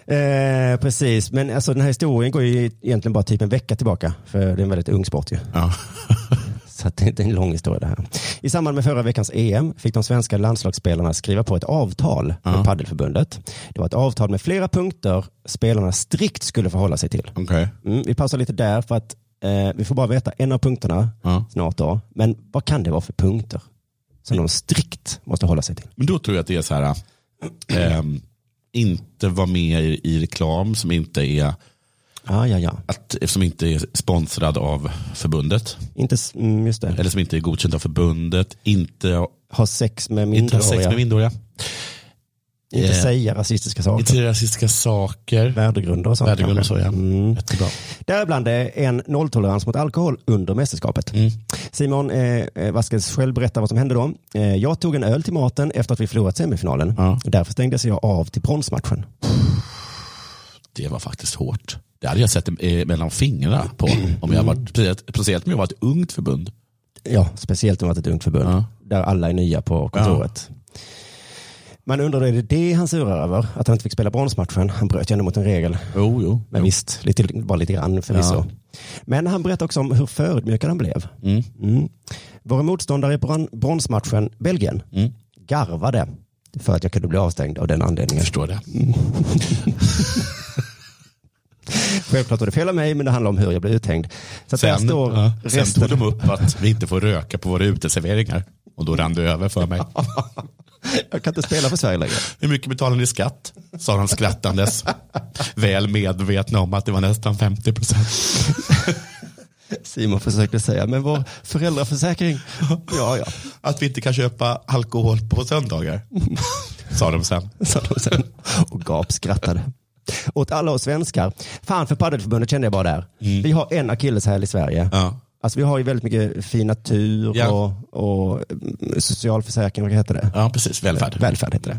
[SPEAKER 1] eh, precis, men alltså, den här historien går ju egentligen bara typ en vecka tillbaka, för det är en väldigt ung sport ju.
[SPEAKER 2] Ja.
[SPEAKER 1] Så att det är inte en lång historia det här. I samband med förra veckans EM fick de svenska landslagsspelarna skriva på ett avtal med
[SPEAKER 2] Ja.
[SPEAKER 1] Paddelförbundet. Det var ett avtal med flera punkter spelarna strikt skulle förhålla sig till.
[SPEAKER 2] Okej.
[SPEAKER 1] Mm, vi pausar lite där för att eh, vi får bara veta en av punkterna
[SPEAKER 2] Ja.
[SPEAKER 1] snart då. Men vad kan det vara för punkter som de strikt måste hålla sig till?
[SPEAKER 2] Men då tror jag att det är så här, ehm, inte vara med i, i reklam som inte är
[SPEAKER 1] Ja, ja, ja.
[SPEAKER 2] att, som inte är sponsrad av förbundet.
[SPEAKER 1] Inte, s- mm, just det.
[SPEAKER 2] Eller som inte är godkänd av förbundet. Inte,
[SPEAKER 1] Ha sex med
[SPEAKER 2] inte ha sex
[SPEAKER 1] minderåriga.
[SPEAKER 2] med
[SPEAKER 1] Inte,
[SPEAKER 2] minderåriga. eh,
[SPEAKER 1] säga rasistiska saker.
[SPEAKER 2] Inte rasistiska saker.
[SPEAKER 1] Värdegrunder och sånt.
[SPEAKER 2] Värdegrund och
[SPEAKER 1] kanske.
[SPEAKER 2] så ja.
[SPEAKER 1] Mm.
[SPEAKER 2] Jättebra.
[SPEAKER 1] Däribland är en nolltolerans mot alkohol under mästerskapet.
[SPEAKER 2] Mm.
[SPEAKER 1] Simon eh, eh, Vasquez själv berättar vad som hände då. Eh, jag tog en öl till maten efter att vi förlorat semifinalen.
[SPEAKER 2] Ja.
[SPEAKER 1] Därför stängdes jag av till bronsmatchen.
[SPEAKER 2] Det var faktiskt hårt. Det hade jag sett eh, mellan fingrarna på. Om jag varit, speciellt- speciellt om jag var ett ungt förbund.
[SPEAKER 1] Ja, speciellt om det var ett ungt förbund.
[SPEAKER 2] Ja.
[SPEAKER 1] Där alla är nya på kontoret. Man undrar, är det det han surar över? Att han inte fick spela bronsmatchen? Han bröt ju ändå mot en regel.
[SPEAKER 2] Jo, jo.
[SPEAKER 1] Men visst, lite, bara lite grann förvisso. Men han berättar också om hur förödmjukad han blev.
[SPEAKER 2] Mm.
[SPEAKER 1] Mm. Våra motståndare i bron- bronsmatchen, Belgien,
[SPEAKER 2] Mm.
[SPEAKER 1] garvade för att jag kunde bli avstängd av den anledningen.
[SPEAKER 2] Jag förstår det.
[SPEAKER 1] Självklart var det fel av mig, men det handlar om hur jag blev uthängd. Så att där
[SPEAKER 2] Sen,
[SPEAKER 1] står
[SPEAKER 2] ja, sen
[SPEAKER 1] resten.
[SPEAKER 2] tog de upp att vi inte får röka på våra uteserveringar. Och då rann det över för mig.
[SPEAKER 1] Jag kan inte spela för Sverige längre.
[SPEAKER 2] Hur mycket betalar ni i skatt? Sa han skrattandes. Väl medvetna om att det var nästan 50 procent.
[SPEAKER 1] Simon försökte säga, men vår föräldraförsäkring. Ja, ja,
[SPEAKER 2] Att vi inte kan köpa alkohol på söndagar. Sa de sen.
[SPEAKER 1] sa de sen. Och gapskrattade. Åt alla oss svenskar. Fan för Paddelförbundet kände jag bara där. Vi har en akilleshäl i Sverige.
[SPEAKER 2] Mm. Ja.
[SPEAKER 1] Alltså vi har ju väldigt mycket fin natur
[SPEAKER 2] Ja.
[SPEAKER 1] och, och mm, socialförsäkring, vad heter det?
[SPEAKER 2] ja, precis. Välfärd.
[SPEAKER 1] Välfärd heter det.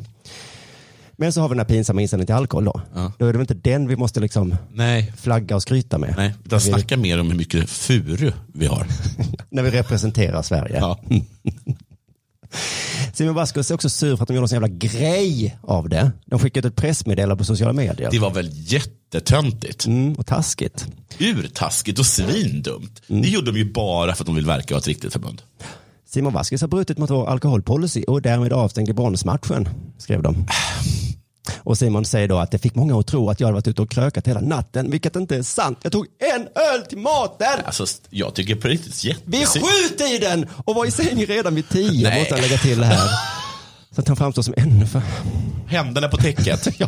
[SPEAKER 1] Men så har vi den här pinsamma inställningen till alkohol då.
[SPEAKER 2] Ja.
[SPEAKER 1] Då är det väl inte den vi måste liksom
[SPEAKER 2] Nej,
[SPEAKER 1] flagga och skryta med.
[SPEAKER 2] nej. De
[SPEAKER 1] När vi,
[SPEAKER 2] snackar mer om hur mycket furu vi har.
[SPEAKER 1] när vi representerar Sverige.
[SPEAKER 2] Ja.
[SPEAKER 1] Simon Vasquez är också sur för att de gjorde en sån jävla grej av det. De skickade ut ett pressmeddelande på sociala medier.
[SPEAKER 2] Det var väl jättetöntigt.
[SPEAKER 1] Mm, och taskigt.
[SPEAKER 2] Urtaskigt och svindumt. Det gjorde de ju bara för att de vill verka vara ett riktigt förbund.
[SPEAKER 1] Simon Vasquez har brutit mot vår alkoholpolicy och därmed avstängd i bronsmatchen, skrev de. Och Simon säger då att det fick många att tro att jag hade varit ute och krökat hela natten, vilket inte är sant. Jag tog en öl till maten!
[SPEAKER 2] Alltså, jag tycker på riktigt
[SPEAKER 1] Vi
[SPEAKER 2] jättesynd.
[SPEAKER 1] sköt i den och var i säng redan vid tio,
[SPEAKER 2] Nej.
[SPEAKER 1] måste han lägga till här. Så att han framstår som ännu för...
[SPEAKER 2] Händerna på täcket.
[SPEAKER 1] Ja,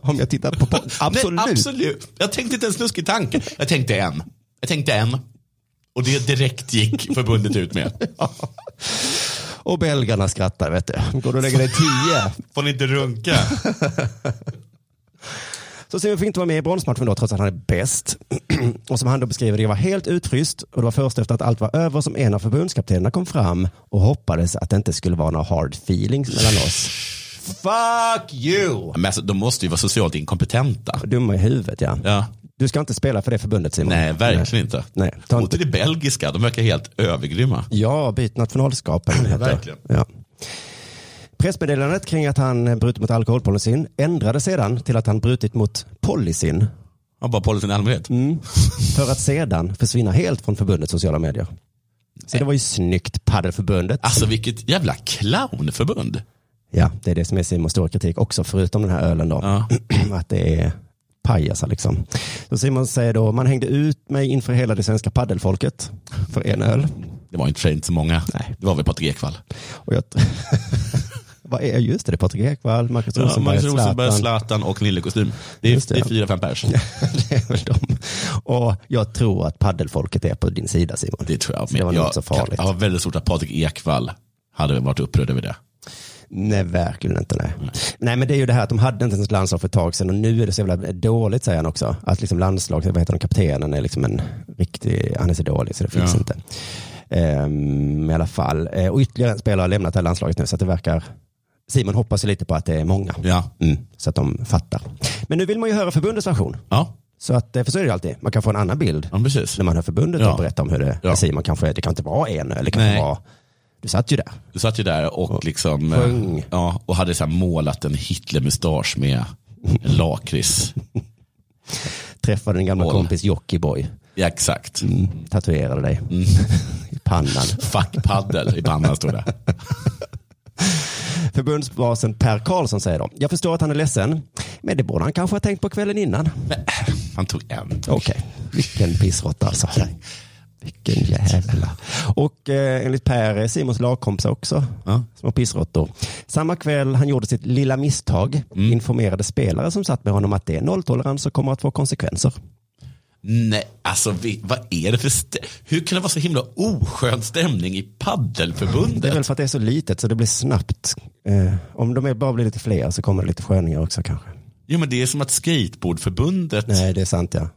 [SPEAKER 1] om jag tittar på... på absolut.
[SPEAKER 2] Nej, absolut. Jag tänkte inte en snuskig tanke. Jag tänkte en. Jag tänkte en. Och det direkt gick förbundet ut med.
[SPEAKER 1] Och belgarna skrattar, vet du. Går du och lägger dig tio?
[SPEAKER 2] Får ni inte runka?
[SPEAKER 1] Så Simon fick inte vara med i bronsmatchen då, trots att han är bäst. och som han då beskriver det, jag var helt utfryst och det var först efter att allt var över som en av förbundskaptenerna kom fram och hoppades att det inte skulle vara några hard feelings mellan oss. Fuck you!
[SPEAKER 2] Men alltså, de måste ju vara socialt inkompetenta.
[SPEAKER 1] Dumma i huvudet, ja.
[SPEAKER 2] Ja.
[SPEAKER 1] Du ska inte spela för det förbundet Simon.
[SPEAKER 2] Nej, verkligen inte.
[SPEAKER 1] Nej, ta
[SPEAKER 2] Och
[SPEAKER 1] inte.
[SPEAKER 2] till det belgiska, de verkar helt övergrymma.
[SPEAKER 1] Ja, byt nationalskap. eller vad det heter.
[SPEAKER 2] Verkligen.
[SPEAKER 1] Ja. Pressmeddelandet kring att han brutit mot alkoholpolicyn ändrades sedan till att han brutit mot policyn
[SPEAKER 2] Ja, bara policyn i allmänhet.
[SPEAKER 1] Mm. för att sedan försvinna helt från förbundets sociala medier. Så det var ju snyggt, Paddelförbundet.
[SPEAKER 2] Alltså vilket jävla clownförbund.
[SPEAKER 1] Ja, det är det som är Simons stora kritik också, förutom den här ölen då.
[SPEAKER 2] Ja.
[SPEAKER 1] Att det är pajasar liksom. Så Simon säger då, man hängde ut mig inför hela det svenska paddelfolket för en öl.
[SPEAKER 2] Det var inte för sig inte så många.
[SPEAKER 1] Nej.
[SPEAKER 2] Det var väl Patrik Ekwall.
[SPEAKER 1] Och jag... Vad är just det, det är Patrik Ekwall, Marcus
[SPEAKER 2] Ja,
[SPEAKER 1] Rosenberg,
[SPEAKER 2] Magnus Rosenberg,
[SPEAKER 1] Zlatan.
[SPEAKER 2] Zlatan och Nille Kostym. Det är,
[SPEAKER 1] Just
[SPEAKER 2] det,
[SPEAKER 1] det.
[SPEAKER 2] är fyra, fem pers.
[SPEAKER 1] det är väl de. Och jag tror att paddelfolket är på din sida Simon.
[SPEAKER 2] Det tror jag.
[SPEAKER 1] Så det var nog
[SPEAKER 2] jag,
[SPEAKER 1] inte så farligt.
[SPEAKER 2] jag har väldigt svårt att Patrik Ekwall hade varit upprörd över det.
[SPEAKER 1] Nej, verkligen inte. Nej. Nej. men det är ju det här att de hade inte ens ett landslag för ett tag sedan och nu är det så jävla dåligt, säger han också. Att liksom landslag, vad heter de, kaptenen är liksom en riktig, han är så dålig så det finns
[SPEAKER 2] Ja.
[SPEAKER 1] inte. Ehm, I alla fall. Eh, och ytterligare en spelare har lämnat det här landslaget nu, så att det verkar, Simon hoppas ju lite på att det är många.
[SPEAKER 2] Ja.
[SPEAKER 1] Mm, så att de fattar. Men nu vill man ju höra förbundets version.
[SPEAKER 2] Ja,
[SPEAKER 1] Så att, eh, för så är det ju alltid, man kan få en annan bild
[SPEAKER 2] ja precis.
[SPEAKER 1] när man hör förbundet
[SPEAKER 2] Ja.
[SPEAKER 1] och berätta om hur det,
[SPEAKER 2] Ja.
[SPEAKER 1] Simon kanske, det kan inte vara en eller det kan
[SPEAKER 2] Nej.
[SPEAKER 1] inte vara, du satt ju där.
[SPEAKER 2] Du satt ju där och liksom eh,
[SPEAKER 1] sjöng.
[SPEAKER 2] ja, och hade så här målat en Hitlermustasch med en lakrits.
[SPEAKER 1] Träffade din gamla
[SPEAKER 2] Boll.
[SPEAKER 1] kompis Jockiboi.
[SPEAKER 2] Ja, exakt.
[SPEAKER 1] Mm. tatuerade dig i pannan.
[SPEAKER 2] Fuck paddel i pannan stod det.
[SPEAKER 1] Förbundsbasen Per Karlsson säger då, jag förstår att han är ledsen, men det borde han kanske ha tänkt på kvällen innan.
[SPEAKER 2] Men, han tog en.
[SPEAKER 1] Okej, vilken pissråtta alltså. Vilken jävla. Och eh, enligt Per är Simons lagkompisar också
[SPEAKER 2] Ja.
[SPEAKER 1] små pissråttor. Samma kväll han gjorde sitt lilla misstag informerade spelare som satt med honom att det är nolltolerans och kommer att få konsekvenser.
[SPEAKER 2] Nej, alltså vi, vad är det för stä- Hur kan det vara så himla oskön stämning
[SPEAKER 1] Det är
[SPEAKER 2] i
[SPEAKER 1] väl
[SPEAKER 2] paddelförbundet?
[SPEAKER 1] för att det är så litet så det blir snabbt. Eh, om de är- bara blir lite fler så kommer det lite sköningar också kanske.
[SPEAKER 2] Jo men det är som att skateboardförbundet,
[SPEAKER 1] Nej, det är sant ja.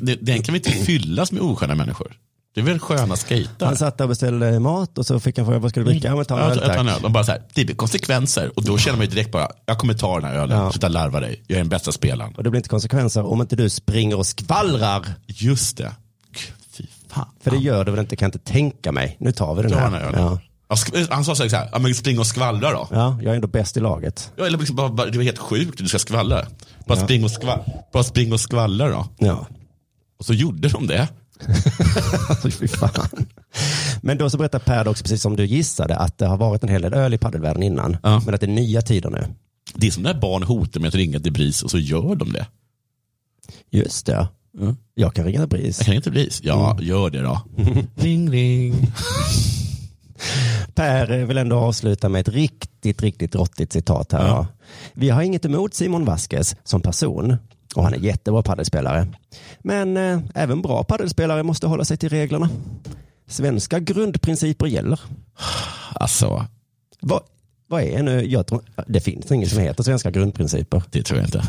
[SPEAKER 2] det- den kan vi inte fyllas med osköna människor. Det är väl sköna skejtare?
[SPEAKER 1] Han satt där och beställde mat och så fick han fråga vad ska du dricka? Ja, men ta en
[SPEAKER 2] Mm. Ja,
[SPEAKER 1] öl
[SPEAKER 2] jag tar en
[SPEAKER 1] tack.
[SPEAKER 2] öl. De bara så här, det blir konsekvenser. Och då känner man ju direkt bara, jag kommer ta den här ölen.
[SPEAKER 1] Ja.
[SPEAKER 2] Sluta larva dig, jag är den bästa spelaren.
[SPEAKER 1] Och det blir inte konsekvenser om inte du springer och skvallrar.
[SPEAKER 2] Just det. Gud, Fy fan.
[SPEAKER 1] För det gör du väl inte, kan inte tänka mig. Nu tar vi den
[SPEAKER 2] Ta
[SPEAKER 1] här.
[SPEAKER 2] den här ölen.
[SPEAKER 1] ja.
[SPEAKER 2] Ja, sk- eh, Han sa så här, så här, ja, men spring och skvallra då.
[SPEAKER 1] ja, jag är ändå bäst i laget.
[SPEAKER 2] Ja, eller liksom bara, bara, det var helt sjukt, du ska skvallra. Bara, spring och skvall, bara spring och skvallra då.
[SPEAKER 1] Ja,
[SPEAKER 2] Och så gjorde de det.
[SPEAKER 1] fy fan. Men då så berättar Per också, precis som du gissade, att det har varit en hel del öl i padelvärlden innan.
[SPEAKER 2] Ja.
[SPEAKER 1] Men att det är nya tider nu.
[SPEAKER 2] Det är som när barn hotar med att ringa till BRIS och så gör de det.
[SPEAKER 1] Just det.
[SPEAKER 2] Mm.
[SPEAKER 1] Jag kan ringa BRIS.
[SPEAKER 2] Jag kan inte BRIS. Ja,
[SPEAKER 1] Mm.
[SPEAKER 2] gör det då. ring, ring.
[SPEAKER 1] Per eh, vill ändå avsluta med ett riktigt, riktigt råttigt citat här.
[SPEAKER 2] Ja.
[SPEAKER 1] då. Vi har inget emot Simon Vasquez som person. Och han är jättebra paddelspelare. Men eh, även bra paddelspelare måste hålla sig till reglerna. Svenska grundprinciper gäller.
[SPEAKER 2] Alltså,
[SPEAKER 1] Vad, vad är nu, jag tror, det finns inget som heter svenska grundprinciper.
[SPEAKER 2] det tror jag inte.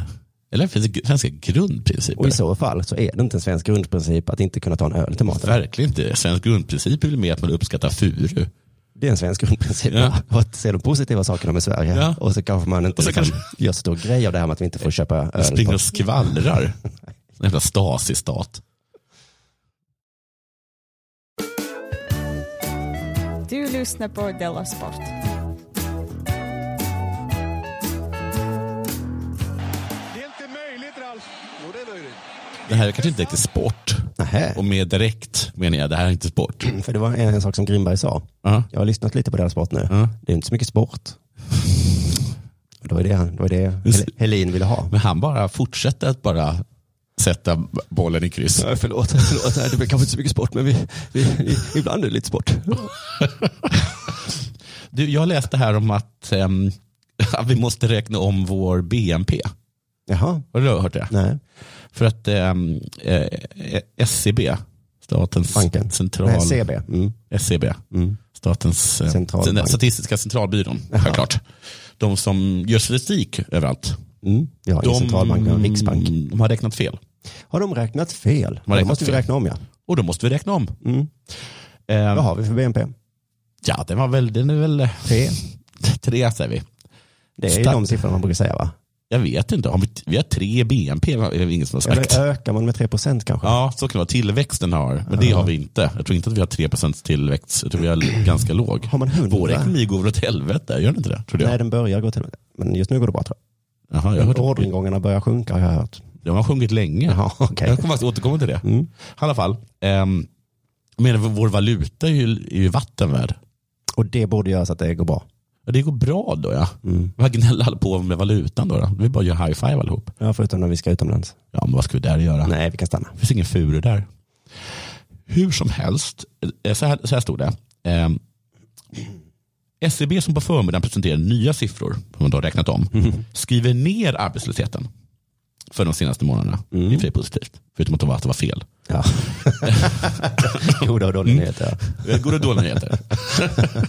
[SPEAKER 2] Eller finns det svenska grundprinciper?
[SPEAKER 1] Och i så fall så är det inte en svensk grundprincip att inte kunna ta en öl till maten.
[SPEAKER 2] Verkligen inte. Svensk grundprincip är väl mer att man uppskattar furu.
[SPEAKER 1] Det är en svensk grundprincip.
[SPEAKER 2] Ja.
[SPEAKER 1] Och att se de positiva sakerna med Sverige.
[SPEAKER 2] Ja.
[SPEAKER 1] Och så kanske man inte
[SPEAKER 2] Och så
[SPEAKER 1] liksom
[SPEAKER 2] kanske-
[SPEAKER 1] gör så stor grej av det här med att vi inte får köpa
[SPEAKER 2] Man
[SPEAKER 1] öl.
[SPEAKER 2] springer
[SPEAKER 1] På.
[SPEAKER 2] och skvallrar. En jävla Stasi-stat.
[SPEAKER 3] Du lyssnar på Della Sport.
[SPEAKER 5] Det är inte möjligt Ralf. Jo det är möjligt.
[SPEAKER 2] Det här är kanske inte riktigt sport.
[SPEAKER 1] Nähä.
[SPEAKER 2] Och med direkt menar jag, det här är inte sport.
[SPEAKER 1] Mm, För det var en, en sak som Grimberg sa.
[SPEAKER 2] Ja.
[SPEAKER 1] Jag har lyssnat lite på deras sport nu.
[SPEAKER 2] Ja.
[SPEAKER 1] Det är inte så mycket sport. Och Det var det, han- det, var det Hel- Helin ville ha.
[SPEAKER 2] Men han bara fortsätter att bara sätta bollen i kryss.
[SPEAKER 1] Ja, förlåt, förlåt, det blir kanske inte så mycket sport, men vi, ibland är det lite sport.
[SPEAKER 2] Du, jag läste här om att, ehm, att vi måste räkna om vår BNP.
[SPEAKER 1] Jaha,
[SPEAKER 2] Har du hört det?
[SPEAKER 1] nej.
[SPEAKER 2] För att ehm, eh, SCB, Statens
[SPEAKER 1] Banken.
[SPEAKER 2] central...
[SPEAKER 1] Nej, CB. Mm.
[SPEAKER 2] SCB,
[SPEAKER 1] Mm.
[SPEAKER 2] Statens eh,
[SPEAKER 1] Centralbank.
[SPEAKER 2] statistiska centralbyrån, självklart. De som gör statistik överallt.
[SPEAKER 1] Mm. Vi har ingen
[SPEAKER 2] de,
[SPEAKER 1] centralbank, vi har en riksbank.
[SPEAKER 2] de har räknat fel.
[SPEAKER 1] Har de räknat fel?
[SPEAKER 2] räknat
[SPEAKER 1] det måste vi
[SPEAKER 2] fel.
[SPEAKER 1] räkna om ja.
[SPEAKER 2] Och då måste vi räkna om.
[SPEAKER 1] Mm.
[SPEAKER 2] Ehm,
[SPEAKER 1] Vad har vi för BNP?
[SPEAKER 2] ja, den var väl, den är väl
[SPEAKER 1] Tre.
[SPEAKER 2] tre säger vi.
[SPEAKER 1] Det är ju
[SPEAKER 2] Stack.
[SPEAKER 1] de siffrorna man brukar säga va?
[SPEAKER 2] Jag vet inte, har vi, vi har tre BNP, va? är det ingen som har sagt.
[SPEAKER 1] Eller eh, ökar man med 3 procent kanske?
[SPEAKER 2] Ja, så kan det vara. Tillväxten har, men det har vi inte. Jag tror inte att vi har 3% tillväxt. Jag tror vi är ganska låg.
[SPEAKER 1] Har man hundra?
[SPEAKER 2] Vår ekonomi går väl åt helvete, gör den inte det? Tror jag.
[SPEAKER 1] Nej, den börjar gå till Men just nu går det bra tror
[SPEAKER 2] Jaha, jag
[SPEAKER 1] jag.
[SPEAKER 2] hörde.
[SPEAKER 1] Orderingångarna börjar sjunka har jag hört.
[SPEAKER 2] De har sjungit länge.
[SPEAKER 1] Jaha, okej. Mm.
[SPEAKER 2] Jag kommer faktiskt återkomma till det. I alla fall, ehm, men vår valuta är ju, är ju vatten värd.
[SPEAKER 1] Och det borde göra så att det går bra.
[SPEAKER 2] Ja, det går bra då ja.
[SPEAKER 1] Mm.
[SPEAKER 2] Vad gnäller alla på med valutan då? då? Vi bara gör high five allihop.
[SPEAKER 1] Ja, förutom när vi ska utomlands.
[SPEAKER 2] Ja, men vad ska vi där göra?
[SPEAKER 1] Nej, vi kan stanna.
[SPEAKER 2] Det finns ingen furu där. Hur som helst, eh, så här, så här stod det. Ehm, SCB som på förmiddagen presenterade nya siffror, som man då har räknat om, skriver ner arbetslösheten för de senaste månaderna. Det är i och för sig positivt, förutom att de var, att det var fel.
[SPEAKER 1] Ja. Mm. jo, det var dåliga nyheter. ja.
[SPEAKER 2] Eh, Goda och dåliga nyheter.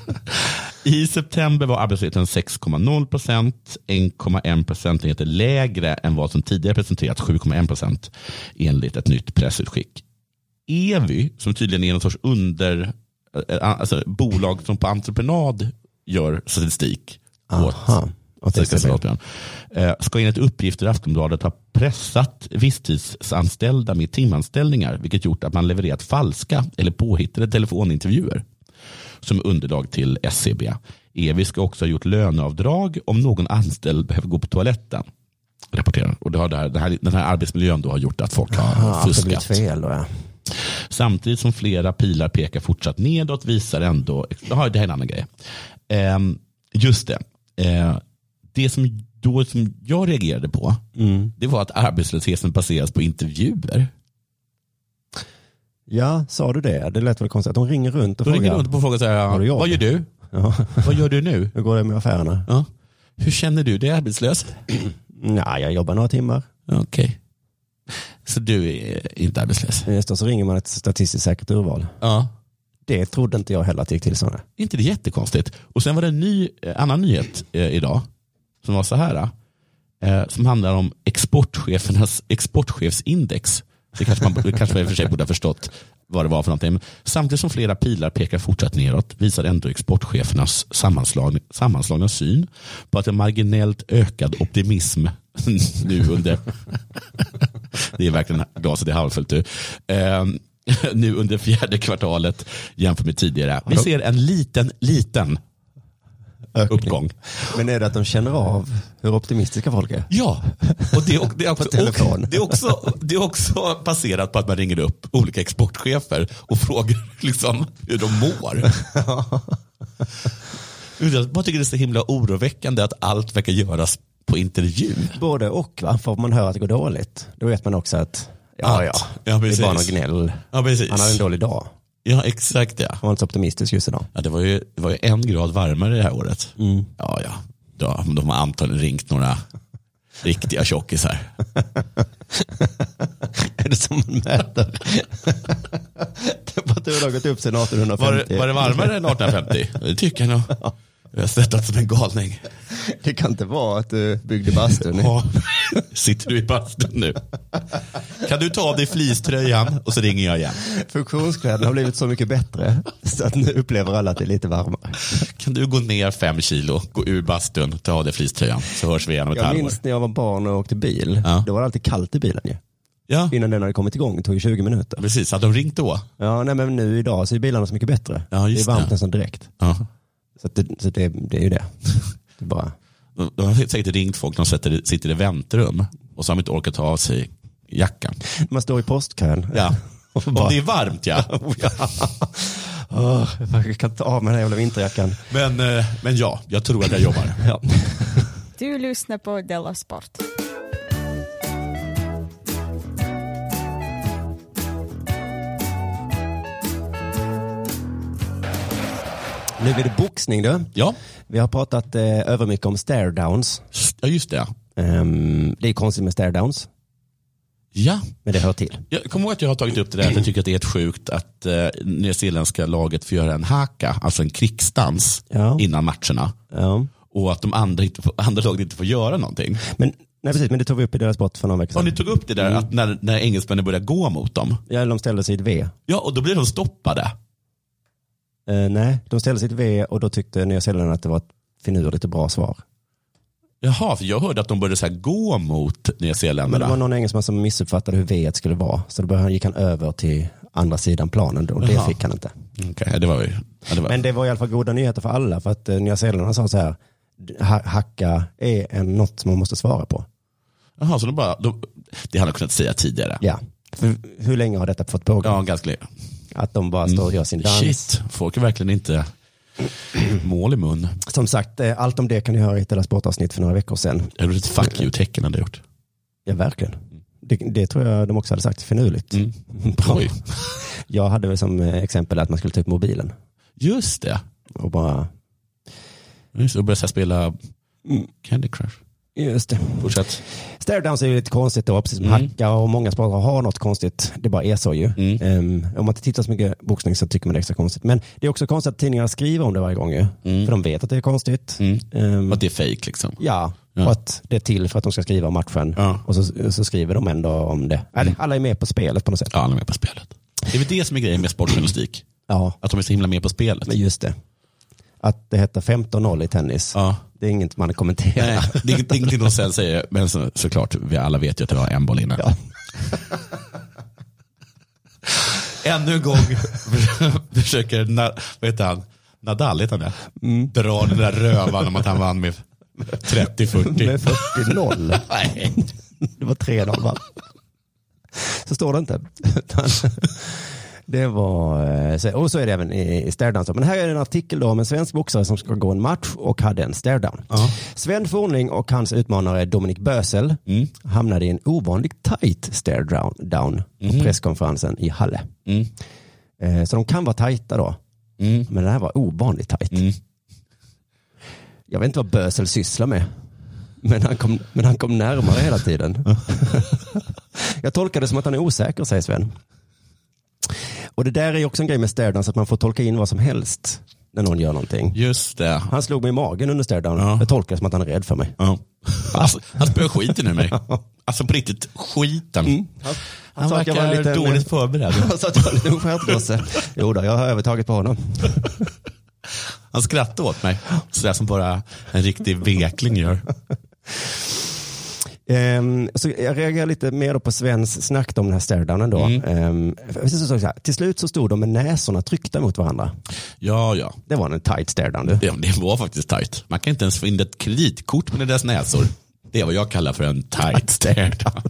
[SPEAKER 2] I september var arbetslösheten 6,0 procent, 1,1 procentenheter lägre än vad som tidigare presenterats, 7,1 procent enligt ett nytt pressutskick. Evy, som tydligen är någon sorts under, eh, alltså bolag som på entreprenad gör statistik
[SPEAKER 1] Aha. Och
[SPEAKER 2] Statistiska
[SPEAKER 1] texten.
[SPEAKER 2] centralbyrån, eh, ska enligt uppgifter i Aftonbladet ha pressat visstidsanställda med timanställningar, vilket gjort att man levererat falska eller påhittade telefonintervjuer som underlag till SCB. EVI ska också ha gjort löneavdrag om någon anställd behöver gå på toaletten. Rapporterar. Och det har det här, det här, den här arbetsmiljön då har gjort att folk har
[SPEAKER 1] Ja, att det blivit
[SPEAKER 2] fuskat.
[SPEAKER 1] fel då ja.
[SPEAKER 2] Samtidigt som flera pilar pekar fortsatt nedåt visar ändå, jaha, det här är en annan grej. Ehm, just det, Eh, det som, då, som jag reagerade på,
[SPEAKER 1] Mm.
[SPEAKER 2] det var att arbetslösheten baseras på intervjuer.
[SPEAKER 1] Ja, sa du det? Det lät väl konstigt. att De ringer runt och
[SPEAKER 2] Då ringer
[SPEAKER 1] frågar.
[SPEAKER 2] de runt och frågar så här,
[SPEAKER 1] Har du jobb?
[SPEAKER 2] vad gör du?
[SPEAKER 1] Ja.
[SPEAKER 2] Vad gör du nu?
[SPEAKER 1] Hur går det med affärerna?
[SPEAKER 2] Ja. Hur känner du dig arbetslös?
[SPEAKER 1] Nej, jag jobbar några timmar.
[SPEAKER 2] Okej. Så du är inte arbetslös?
[SPEAKER 1] Just och så ringer man ett statistiskt säkert urval.
[SPEAKER 2] Ja.
[SPEAKER 1] Det trodde inte jag heller att det gick till sådana.
[SPEAKER 2] Är inte det jättekonstigt? Och sen var det en ny, eh, annan nyhet eh, idag som var så här. Eh, som handlar om exportchefernas exportchefsindex. Det kanske man, det kanske man i och för sig borde ha förstått vad det var för någonting. Men samtidigt som flera pilar pekar fortsatt nedåt visar ändå exportchefernas sammanslag, sammanslagna syn på att en marginellt ökad optimism nu under det är verkligen gaset i halvfullt du. Eh, nu under fjärde kvartalet jämfört med tidigare. Vi ser en liten, liten uppgång.
[SPEAKER 1] Men är det att de känner av hur optimistiska folk är?
[SPEAKER 2] Ja, och det, och det, är också,
[SPEAKER 1] telefon.
[SPEAKER 2] och det, är också, det är också baserat på att man ringer upp olika exportchefer och frågar liksom hur de mår. Jag bara tycker det är så himla oroväckande att allt verkar göras på intervju.
[SPEAKER 1] Både och, va? för om man hör att det går dåligt, då vet man också att ja,
[SPEAKER 2] Att-
[SPEAKER 1] ja,
[SPEAKER 2] ja,
[SPEAKER 1] det är
[SPEAKER 2] precis.
[SPEAKER 1] bara någon gnäll.
[SPEAKER 2] Ja, precis.
[SPEAKER 1] Han hade en dålig dag.
[SPEAKER 2] Ja, exakt ja.
[SPEAKER 1] Han var inte så optimistisk just idag.
[SPEAKER 2] Ja, det, var ju, det var ju en grad varmare det här året. Ja, ja. De, de har antagligen ringt några riktiga tjockisar.
[SPEAKER 1] är det som man mäter? Temperaturen har gått upp sedan
[SPEAKER 2] Var,
[SPEAKER 1] 1850.
[SPEAKER 2] det- var det varmare än 1850? Det tycker jag nog. Jag har svettats som en galning.
[SPEAKER 1] Det kan inte vara att du byggde bastun. i.
[SPEAKER 2] Ja. Sitter du i bastun nu? Kan du ta av dig fleecetröjan och så ringer jag igen.
[SPEAKER 1] Funktionskläderna har blivit så mycket bättre så att nu upplever alla att det är lite varmare.
[SPEAKER 2] Kan du gå ner fem kilo, gå ur bastun, ta av dig fleecetröjan så hörs vi igen om ett
[SPEAKER 1] Jag
[SPEAKER 2] halvår.
[SPEAKER 1] minns när jag var barn och åkte bil.
[SPEAKER 2] Ja.
[SPEAKER 1] Då var det alltid kallt i bilen ju.
[SPEAKER 2] Ja,
[SPEAKER 1] Innan den hade kommit igång, det tog ju 20 minuter.
[SPEAKER 2] precis. Hade de ringt då?
[SPEAKER 1] Ja, nej, men nu idag så är bilarna så mycket bättre.
[SPEAKER 2] Ja,
[SPEAKER 1] det är
[SPEAKER 2] just
[SPEAKER 1] varmt
[SPEAKER 2] det.
[SPEAKER 1] nästan direkt.
[SPEAKER 2] Ja.
[SPEAKER 1] Så, att det, så det, det är ju det. det är bara.
[SPEAKER 2] De de har säkert ringt folk när de sitter i- sitter i väntrum och så har de inte orkat ta av sig jackan.
[SPEAKER 1] Man står i postkön.
[SPEAKER 2] Ja.
[SPEAKER 1] Och
[SPEAKER 2] Om
[SPEAKER 1] bara- Oh,
[SPEAKER 2] det är varmt ja.
[SPEAKER 1] Åh, jag kan ta av mig den här jävla vinterjackan.
[SPEAKER 2] Men, eh, men ja, jag tror att jag jobbar.
[SPEAKER 1] Ja.
[SPEAKER 3] Du lyssnar på Della Sport.
[SPEAKER 1] Nu blir det boxning du.
[SPEAKER 2] Ja,
[SPEAKER 1] Vi har pratat eh, över mycket om stare downs.
[SPEAKER 2] ja just det.
[SPEAKER 1] Ehm, det är konstigt med stare downs,
[SPEAKER 2] Ja,
[SPEAKER 1] men det hör till.
[SPEAKER 2] Jag kommer ihåg att jag har tagit upp det där att jag tycker att det är helt sjukt att eh, nyzeeländska laget får göra en haka, alltså en krigsdans
[SPEAKER 1] Ja.
[SPEAKER 2] innan matcherna.
[SPEAKER 1] Ja.
[SPEAKER 2] Och att de andra, inte, får- andra laget inte får göra någonting.
[SPEAKER 1] Men, nej, precis, men det tog vi upp i deras sport för någon vecka
[SPEAKER 2] Och ni
[SPEAKER 1] sedan.
[SPEAKER 2] tog upp det där
[SPEAKER 1] Mm.
[SPEAKER 2] att när, när engelsmännen börjar gå mot dem,
[SPEAKER 1] Ja, de ställde sig i ett V.
[SPEAKER 2] ja och då blir de stoppade.
[SPEAKER 1] Eh, nej, de ställde sig i ett V och då tyckte Nya Zeeland att det var ett finurligt och bra svar.
[SPEAKER 2] Jaha, för jag hörde att de började så här gå mot
[SPEAKER 1] Men det
[SPEAKER 2] nyzeeländarna.
[SPEAKER 1] var någon engelsman som missuppfattade hur V skulle vara. Så då började, gick han över till andra sidan planen och det
[SPEAKER 2] Jaha.
[SPEAKER 1] fick han inte.
[SPEAKER 2] Okej, ja, det var ju... Ja, det var.
[SPEAKER 1] Men det var i alla fall goda nyheter för alla för att eh, Nya Zeeland sa så här, ha- hacka är en, något som man måste svara på.
[SPEAKER 2] Jaha, så de bara, de, det hade jag kunnat säga tidigare.
[SPEAKER 1] Ja. För hur länge har detta fått pågå?
[SPEAKER 2] Ja, ganska länge.
[SPEAKER 1] Att de bara står och gör sin dans.
[SPEAKER 2] Shit, folk är verkligen inte mål i mun.
[SPEAKER 1] Som sagt, eh, allt om det kan ni höra i ett Della Sport-avsnitt för några veckor sedan.
[SPEAKER 2] Det är ett fuck you-tecken hade jag gjort.
[SPEAKER 1] Ja, verkligen. Det, det tror jag de också hade sagt, finurligt.
[SPEAKER 2] Mm.
[SPEAKER 1] Bra.
[SPEAKER 2] Oj.
[SPEAKER 1] Jag hade väl som eh, exempel att man skulle ta upp mobilen
[SPEAKER 2] Just det.
[SPEAKER 1] och bara,
[SPEAKER 2] Just det. Och började så här spela Candy Crush.
[SPEAKER 1] just det.
[SPEAKER 2] Fortsätt.
[SPEAKER 1] Staredowns är ju lite konstigt då, precis som
[SPEAKER 2] Mm.
[SPEAKER 1] hacka och många sporter har något konstigt. Det bara är så ju.
[SPEAKER 2] Mm.
[SPEAKER 1] Ehm, om man inte tittar så mycket boxning så tycker man det är extra konstigt. Men det är också konstigt att tidningarna skriver om det varje gång ju. För de vet att det är konstigt.
[SPEAKER 2] Mm.
[SPEAKER 1] Ehm,
[SPEAKER 2] Att det är fake liksom.
[SPEAKER 1] ja,
[SPEAKER 2] Ja.
[SPEAKER 1] och att det är till för att de ska skriva om matchen.
[SPEAKER 2] Ja.
[SPEAKER 1] Och så, så skriver de ändå om det. Eller, Alla är med på spelet på något sätt.
[SPEAKER 2] Ja, han är med på spelet. Det är väl det som är grejen med sportjournalistik.
[SPEAKER 1] Ja,
[SPEAKER 2] Att de är så himla med på spelet.
[SPEAKER 1] men just det. Att det heter 15-0 i tennis.
[SPEAKER 2] Ja.
[SPEAKER 1] Det är inget man kommenterar.
[SPEAKER 2] Nej, det är det är ingenting de sen säger. Men så, såklart, vi alla vet ju att det var en boll inne.
[SPEAKER 1] Ja.
[SPEAKER 2] Ännu en gång försöker, na, vad heter han? Nadal heter han det?
[SPEAKER 1] Mm.
[SPEAKER 2] Dra den där rövan om att han vann med 30-40.
[SPEAKER 1] Med 40-0.
[SPEAKER 2] Nej.
[SPEAKER 1] Det var tre dagar va? Så står det inte. Utan det var, eh, så- och så är det även i i stare down. Men här är en artikel då om en svensk boxare som ska gå en match och hade en stare down. Sven Fornling och hans utmanare Dominik Bösel hamnade i en ovanligt tight stare down, down på presskonferensen i Halle.
[SPEAKER 2] Mm.
[SPEAKER 1] Eh, Så de kan vara tajta då,
[SPEAKER 2] Mm.
[SPEAKER 1] men det här var ovanligt tajt.
[SPEAKER 2] Mm.
[SPEAKER 1] Jag vet inte vad Bösel sysslar med. Men han, kom, men han kom närmare hela tiden. Jag tolkar det som att han är osäker, säger Sven. Och det där är ju också en grej med staredowns, att man får tolka in vad som helst när någon gör någonting.
[SPEAKER 2] Just det.
[SPEAKER 1] Han slog mig i magen under staredown.
[SPEAKER 2] Ja.
[SPEAKER 1] Jag tolkar det som att han är rädd för mig.
[SPEAKER 2] Ja. Alltså, han spöade skiten ur mig. Alltså på riktigt, skiten.
[SPEAKER 1] Mm. Han,
[SPEAKER 2] Han verkar dåligt förberedd.
[SPEAKER 1] Han sa att jag var en liten stjärtgosse. Jo då, jag har övertaget på honom.
[SPEAKER 2] Han skrattade åt mig. Sådär som bara en riktig vekling gör.
[SPEAKER 1] Ehm, så jag reagerar lite mer då på Svens snack om den här staredownen då. Ehm, precis som jag sa, till slut så stod de med näsorna tryckta mot varandra.
[SPEAKER 2] Ja, ja.
[SPEAKER 1] Det var en tight staredown du.
[SPEAKER 2] Det, det var faktiskt tajt. Man kan inte ens få in ett kreditkort med deras näsor. Det är vad jag kallar för en tight stare down.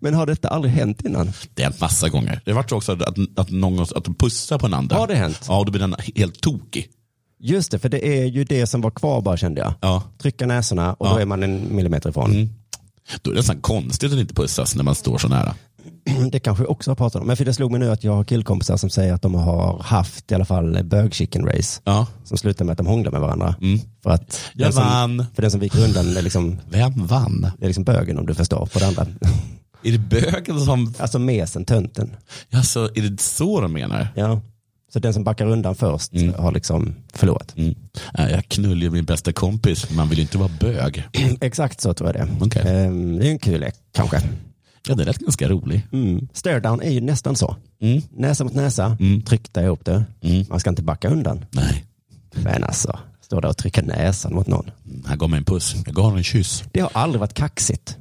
[SPEAKER 1] Men har detta aldrig hänt innan?
[SPEAKER 2] Det har hänt massa gånger. Det har varit så också att, att, någon, att de pussar på en andra.
[SPEAKER 1] Har det hänt?
[SPEAKER 2] Ja, och då blir den helt tokig.
[SPEAKER 1] Just det, för det är ju det som var kvar bara kände jag.
[SPEAKER 2] Ja.
[SPEAKER 1] Trycka näsorna och då
[SPEAKER 2] Ja.
[SPEAKER 1] är man en millimeter ifrån.
[SPEAKER 2] Då är det nästan konstigt att inte pussas när man står så nära.
[SPEAKER 1] Det kanske vi också har pratat om. Men för det slog mig nu att jag har killkompisar som säger att de har haft i alla fall bög chicken race.
[SPEAKER 2] Ja.
[SPEAKER 1] Som slutar med att de hånglar med varandra. För att
[SPEAKER 2] Jag
[SPEAKER 1] den som,
[SPEAKER 2] vann.
[SPEAKER 1] för den som viker undan är liksom,
[SPEAKER 2] Vem vann?
[SPEAKER 1] är liksom bögen om du förstår på det andra.
[SPEAKER 2] Är det bögen som...
[SPEAKER 1] Alltså mesen, tönten.
[SPEAKER 2] Alltså, är det så de menar?
[SPEAKER 1] Ja. Så den som backar undan först har liksom förlorat.
[SPEAKER 2] Mm. Nej, Jag knullar ju min bästa kompis, man vill ju inte vara bög.
[SPEAKER 1] Exakt så tror jag det är.
[SPEAKER 2] Okej.
[SPEAKER 1] Ehm, det är en kul lek kanske.
[SPEAKER 2] Ja, det lät ganska rolig.
[SPEAKER 1] Mm. Stairdown är ju nästan så.
[SPEAKER 2] Mm.
[SPEAKER 1] Näsa mot näsa, tryckta ihop det.
[SPEAKER 2] Mm.
[SPEAKER 1] Man ska inte backa undan.
[SPEAKER 2] Nej,
[SPEAKER 1] Men alltså, stå där och trycka näsan mot någon.
[SPEAKER 2] han gav mig en puss. Jag gav honom en kyss.
[SPEAKER 1] Det har aldrig varit kaxigt.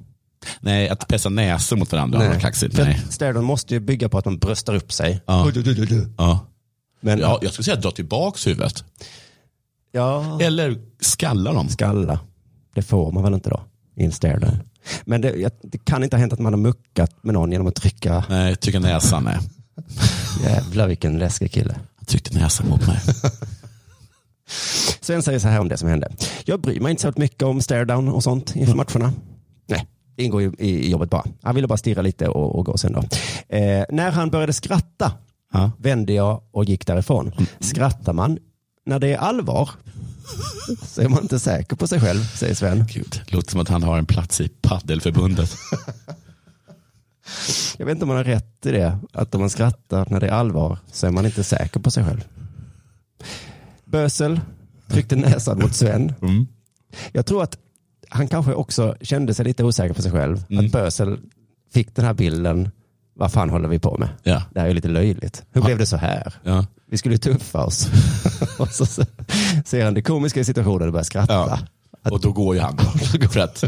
[SPEAKER 2] Nej, att pessa näsor mot varandra nej. var kaxigt.
[SPEAKER 1] För
[SPEAKER 2] Nej.
[SPEAKER 1] Stairdown måste ju bygga på att man bröstar upp sig.
[SPEAKER 2] Ja.
[SPEAKER 1] Du, du, du, du.
[SPEAKER 2] Ja.
[SPEAKER 1] Men
[SPEAKER 2] Ja,
[SPEAKER 1] ja.
[SPEAKER 2] jag skulle säga dra tillbaks huvudet. Eller skalla dem.
[SPEAKER 1] skalla, det får man väl inte då? I en stairdown. Men det, jag- det kan inte ha hänt att man har muckat med någon genom att trycka.
[SPEAKER 2] Nej, trycka näsan. Nej.
[SPEAKER 1] Jävlar vilken läskig kille.
[SPEAKER 2] Han tryckte näsan mot mig.
[SPEAKER 1] Sven säger så här om det som hände. Jag bryr mig inte så mycket om stairdown och sånt inför matcherna. Nej, det ingår ju i jobbet bara. Han ville bara stirra lite och, och gå sen då. Eh, när han började skratta
[SPEAKER 2] Ja.
[SPEAKER 1] vände jag och gick därifrån. Skrattar man när det är allvar så är man inte säker på sig själv, säger Sven.
[SPEAKER 2] Gud, låter som att han har en plats i paddelförbundet.
[SPEAKER 1] Jag vet inte om man har rätt i det, att om man skrattar när det är allvar så är man inte säker på sig själv. Bösel tryckte näsan mot Sven.
[SPEAKER 2] Mm.
[SPEAKER 1] Jag tror att han kanske också kände sig lite osäker på sig själv.
[SPEAKER 2] Mm.
[SPEAKER 1] Att Bösel fick den här bilden, vad fan håller vi på med?
[SPEAKER 2] Ja.
[SPEAKER 1] Det här är ju lite löjligt. Hur
[SPEAKER 2] Ja.
[SPEAKER 1] blev det så här?
[SPEAKER 2] Ja.
[SPEAKER 1] Vi skulle ju tuffa oss. och så ser han det komiska i situationen och börjar skratta.
[SPEAKER 2] Ja. Och då går ju han. För att,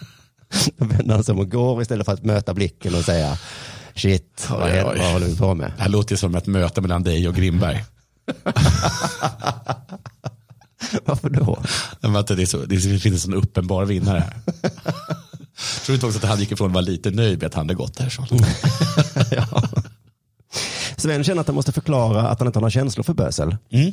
[SPEAKER 1] Då vänder han sig om och går istället för att möta blicken och säga shit, vad,
[SPEAKER 2] Oj, oj,
[SPEAKER 1] händer,
[SPEAKER 2] oj.
[SPEAKER 1] vad håller vi på med?
[SPEAKER 2] det här låter ju som ett möte mellan dig och Grimberg.
[SPEAKER 1] Varför då?
[SPEAKER 2] Men vänta, det, är så, det finns en uppenbar vinnare här. Tror du inte också att han gick ifrån och var lite nöjd med att han hade gått härifrån?
[SPEAKER 1] Mm. Sven känner att han måste förklara att han inte har några känslor för bösel.
[SPEAKER 2] Mm.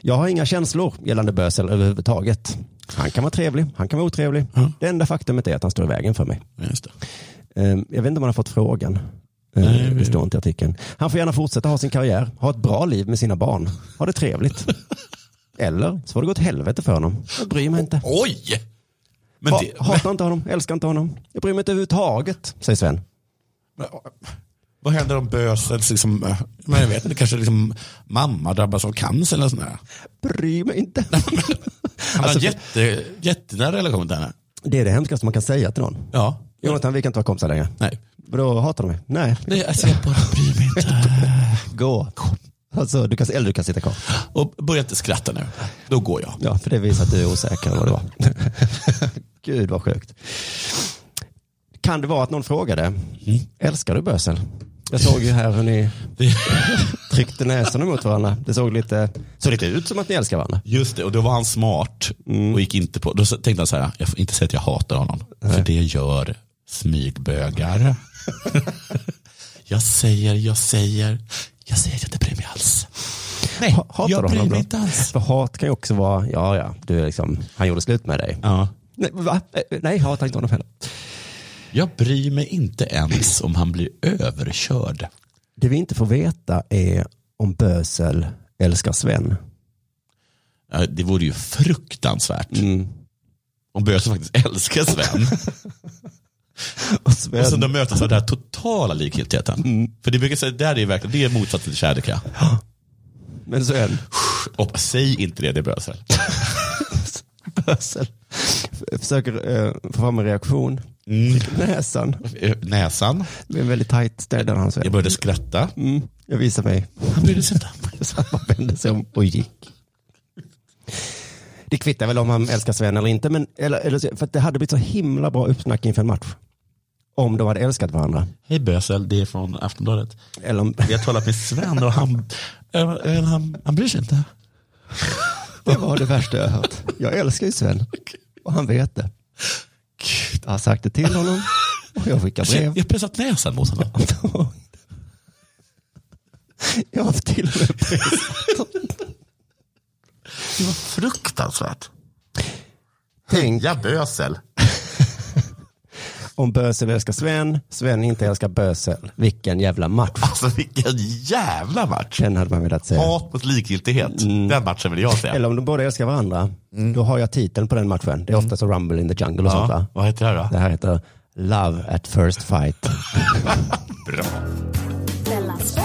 [SPEAKER 1] Jag har inga känslor gällande bösel överhuvudtaget. Han kan vara trevlig, han kan vara otrevlig. Det enda faktumet är att han står i vägen för mig.
[SPEAKER 2] Ja, Just det.
[SPEAKER 1] Ehm, Jag vet inte om han har fått frågan. Ehm, Det står inte i artikeln. Han får gärna fortsätta ha sin karriär, ha ett bra liv med sina barn, ha det trevligt. Eller så får det gå åt helvete för honom. Jag bryr mig inte.
[SPEAKER 2] Oj! Men
[SPEAKER 1] Ha,
[SPEAKER 2] det,
[SPEAKER 1] hatar inte honom, älskar inte honom. Jag bryr mig inte överhuvudtaget, säger Sven.
[SPEAKER 2] men, vad händer om bösens, liksom, eh, men jag vet inte, kanske liksom, mamma drabbas av cancer eller sånt där?
[SPEAKER 1] Bryr mig inte.
[SPEAKER 2] Han
[SPEAKER 1] Alltså,
[SPEAKER 2] har en jätte, jättenära relation till henne.
[SPEAKER 1] Det är det hemskaste man kan säga till någon.
[SPEAKER 2] Ja.
[SPEAKER 1] Jonathan, vi kan inte vara kompisar längre.
[SPEAKER 2] Nej.
[SPEAKER 1] Vadå, hatar du mig? Nej,
[SPEAKER 2] Nej, alltså jag bara bryr mig inte.
[SPEAKER 1] gå. Alltså, du kan, eller du kan sitta kvar.
[SPEAKER 2] Och börja inte skratta nu. Då går jag.
[SPEAKER 1] Ja, för det visar att du är osäker eller vad det var. Gud vad sjukt. Kan det vara att någon frågade, älskar du bösel? Jag såg ju här hur ni
[SPEAKER 2] Det-
[SPEAKER 1] tryckte näsorna mot varandra. Det såg lite, såg lite ut som att ni älskar varandra.
[SPEAKER 2] Just det, och då var han smart och gick inte på, då tänkte han så här, jag får inte säga att jag hatar honom, för det gör smygbögar. jag säger, jag säger, jag säger att jag inte bryr mig alls. Nej,
[SPEAKER 1] Ha- hatar
[SPEAKER 2] jag
[SPEAKER 1] du
[SPEAKER 2] bryr
[SPEAKER 1] honom då?
[SPEAKER 2] mig inte alls.
[SPEAKER 1] För hat kan ju också vara, ja ja, du är liksom, han gjorde slut med dig.
[SPEAKER 2] Ja.
[SPEAKER 1] Nej, va? Eh, Nej, jag hatar inte honom heller.
[SPEAKER 2] Jag bryr mig inte ens om han blir överkörd.
[SPEAKER 1] Det vi inte får veta är om bösel älskar Sven.
[SPEAKER 2] Ja, Det vore ju fruktansvärt
[SPEAKER 1] Mm.
[SPEAKER 2] om Böse faktiskt älskar Sven.
[SPEAKER 1] Och Sven
[SPEAKER 2] Och så de möts av den här totala likgiltigheten. För det brukar säga, där är verkligen, det är motsatsen till kärlek. ja.
[SPEAKER 1] Men Sven,
[SPEAKER 2] Och säg inte det, det är bösel.
[SPEAKER 1] bösel, f- försöker eh, få fram en reaktion.
[SPEAKER 2] Mm.
[SPEAKER 1] Näsan,
[SPEAKER 2] Eh, näsan.
[SPEAKER 1] det är en väldigt tajt städare han
[SPEAKER 2] Jag
[SPEAKER 1] Sven.
[SPEAKER 2] började skratta.
[SPEAKER 1] Mm, jag visar mig.
[SPEAKER 2] Han brydde sig inte.
[SPEAKER 1] Så han bara vände sig om och gick. Det kvittar väl om han älskar Sven eller inte, men, eller, eller, så- för att det hade blivit så himla bra uppsnack inför en match. Om de hade älskat varandra.
[SPEAKER 2] Hej Bösel, det är från Aftonbladet.
[SPEAKER 1] Eller om,
[SPEAKER 2] Vi har talat med Sven och han, eh, eh, han, han bryr sig inte.
[SPEAKER 1] det var det värsta jag hört. Jag älskar ju Sven. Och han vet det. Jag har sagt det till honom. Och jag skickar
[SPEAKER 2] Jag
[SPEAKER 1] brev.
[SPEAKER 2] har pressat näsan mot honom.
[SPEAKER 1] Jag har haft till och med
[SPEAKER 2] Det var fruktansvärt.
[SPEAKER 1] tänkt
[SPEAKER 2] Ja, Bösel.
[SPEAKER 1] om Bösel älskar Sven, Sven inte älskar Bösel. Vilken jävla match.
[SPEAKER 2] Alltså vilken jävla match.
[SPEAKER 1] Den hade man velat se.
[SPEAKER 2] Hat mot likgiltighet. Den matchen vill jag se.
[SPEAKER 1] Eller om de båda älskar Mm. varandra, då har jag titeln på den matchen. Det är ofta så Rumble in the Jungle och sånt va?
[SPEAKER 2] vad heter det här då?
[SPEAKER 1] Det här heter Love at first fight.
[SPEAKER 2] Bra.
[SPEAKER 4] Della Sport.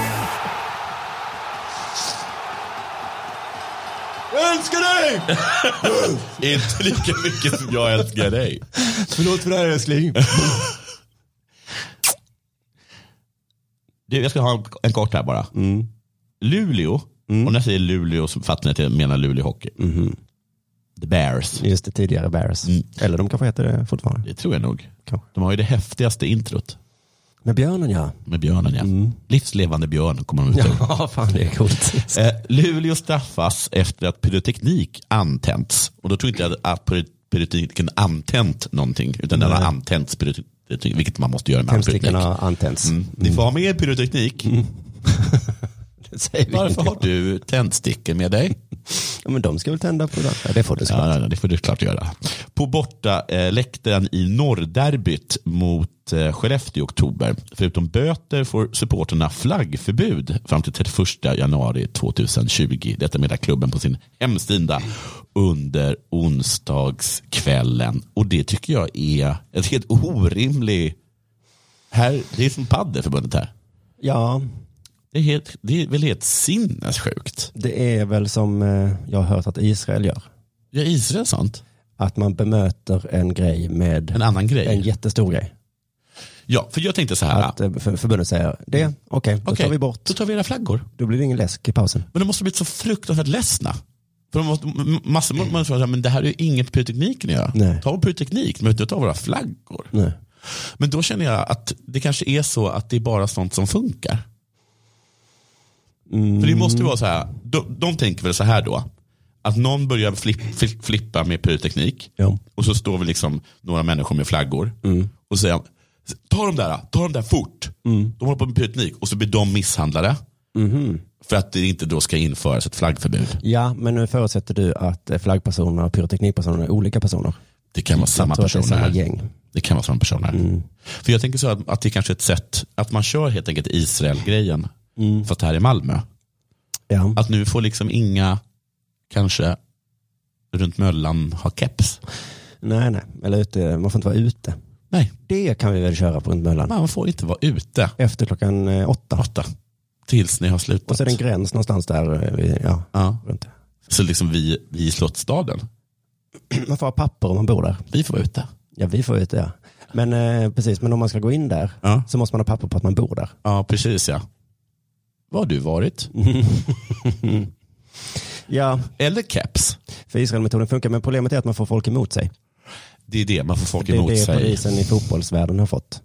[SPEAKER 2] Jag älskar dig! Inte lika mycket som jag älskar dig.
[SPEAKER 1] Förlåt för det här älskling.
[SPEAKER 2] Du, jag ska ha en, en kort här bara. Luleå, och när jag säger Luleå så fattar ni att jag menar Luleå Hockey. The Bears.
[SPEAKER 1] Mhm. Just det, tidigare Bears. Eller de kanske heter det fortfarande.
[SPEAKER 2] Det tror jag nog.
[SPEAKER 1] Kanske.
[SPEAKER 2] De har ju det häftigaste introt
[SPEAKER 1] Men björnen ja.
[SPEAKER 2] med björnen. Ja. Livslevande björn kommer de ut som.
[SPEAKER 1] Ja, fan det är coolt.
[SPEAKER 2] Eh, Luleå straffas efter att pyroteknik antänts. Och då tror inte jag att pyro- pyrotekniken antänt någonting, utan den har antänts pyroteknik, vilket man måste göra med all
[SPEAKER 1] Fem stycken
[SPEAKER 2] pyroteknik.
[SPEAKER 1] har antänts.
[SPEAKER 2] Mm. Ni får ha med er pyroteknik.
[SPEAKER 1] Det säger vi inte.
[SPEAKER 2] Varför har du tändstickor med dig?
[SPEAKER 1] Ja, men de ska väl tända på det. Ja, det får du såklart.
[SPEAKER 2] Ja, nej, nej, det får du klart göra. På borta eh, läktaren i norrderbyt mot eh, Skellefteå i oktober. Förutom böter får supporterna flaggförbud fram till 31 januari 2020. Detta meddelar klubben på sin hemsida under onsdagskvällen. Och det tycker jag är ett helt orimlig... Här, det är som paddelförbundet här.
[SPEAKER 1] Ja,
[SPEAKER 2] Det är, helt, det är väl helt sinnessjukt.
[SPEAKER 1] det är väl som eh, jag har hört att Israel gör.
[SPEAKER 2] Gör Israel sånt?
[SPEAKER 1] Att man bemöter en grej med
[SPEAKER 2] En annan grej?
[SPEAKER 1] en jättestor grej.
[SPEAKER 2] Ja, för jag tänkte så här.
[SPEAKER 1] Att eh, för- förbundet säger det, okej, då
[SPEAKER 2] Okej,
[SPEAKER 1] tar vi bort.
[SPEAKER 2] Då tar vi era flaggor.
[SPEAKER 1] Då blir det ingen läsk i pausen.
[SPEAKER 2] Men de måste ha blivit så fruktansvärt ledsna. För de måste, m- massor av människor säger, men det här är ju inget pyrotekniken att göra.
[SPEAKER 1] Mm. Nej. Mm.
[SPEAKER 2] Ta vår pyroteknik, men inte ta våra flaggor.
[SPEAKER 1] Nej.
[SPEAKER 2] Men då känner jag att det kanske är så att det är bara sånt som funkar.
[SPEAKER 1] Mm.
[SPEAKER 2] För det måste ju vara så här, de, de tänker väl så här då, att någon börjar flipp, flipp, flippa med pyroteknik
[SPEAKER 1] Ja. Mm.
[SPEAKER 2] och så står vi liksom några människor med flaggor och säger, ta de där, ta de där fort.
[SPEAKER 1] Mm.
[SPEAKER 2] De håller på med pyroteknik och så blir de misshandlade. För att det inte då ska införas ett flaggförbud.
[SPEAKER 1] Mhm. Ja, men nu förutsätter du att eh, flaggpersoner och pyroteknikpersoner är olika personer.
[SPEAKER 2] Det kan vara samma
[SPEAKER 1] jag tror att det är
[SPEAKER 2] personer.
[SPEAKER 1] samma Mm. gäng.
[SPEAKER 2] Det kan vara samma personer. För jag tänker så att, att det kanske är ett sätt att man kör helt enkelt Israel-grejen.
[SPEAKER 1] Mm.
[SPEAKER 2] Fast här i Malmö.
[SPEAKER 1] Ja.
[SPEAKER 2] Att nu får liksom inga, kanske, runt möllan ha keps.
[SPEAKER 1] Nej, nej. Eller ute, man får inte vara ute.
[SPEAKER 2] Nej,
[SPEAKER 1] Det kan vi väl köra på runt Möllan.
[SPEAKER 2] man får inte vara ute.
[SPEAKER 1] Efter klockan eh, åtta.
[SPEAKER 2] Åtta. Tills ni har slutat.
[SPEAKER 1] Och så är det en gräns någonstans där. eh, vid- Ja,
[SPEAKER 2] ja.
[SPEAKER 1] runt.
[SPEAKER 2] Så liksom vi, vi i Slottsstaden,
[SPEAKER 1] Man får ha papper om man bor där.
[SPEAKER 2] vi får vara ute.
[SPEAKER 1] Ja, vi får ut det. Ja. Men eh, precis, men om man ska gå in där
[SPEAKER 2] Ja.
[SPEAKER 1] så måste man ha papper på att man bor där.
[SPEAKER 2] Ja, precis ja. Var har du varit?
[SPEAKER 1] Ja,
[SPEAKER 2] Eller keps.
[SPEAKER 1] för Israelmetoden funkar, men problemet är att man får folk emot sig.
[SPEAKER 2] Det är det man får folk
[SPEAKER 1] Det är
[SPEAKER 2] emot
[SPEAKER 1] det
[SPEAKER 2] sig.
[SPEAKER 1] polisen i fotbollsvärlden har fått.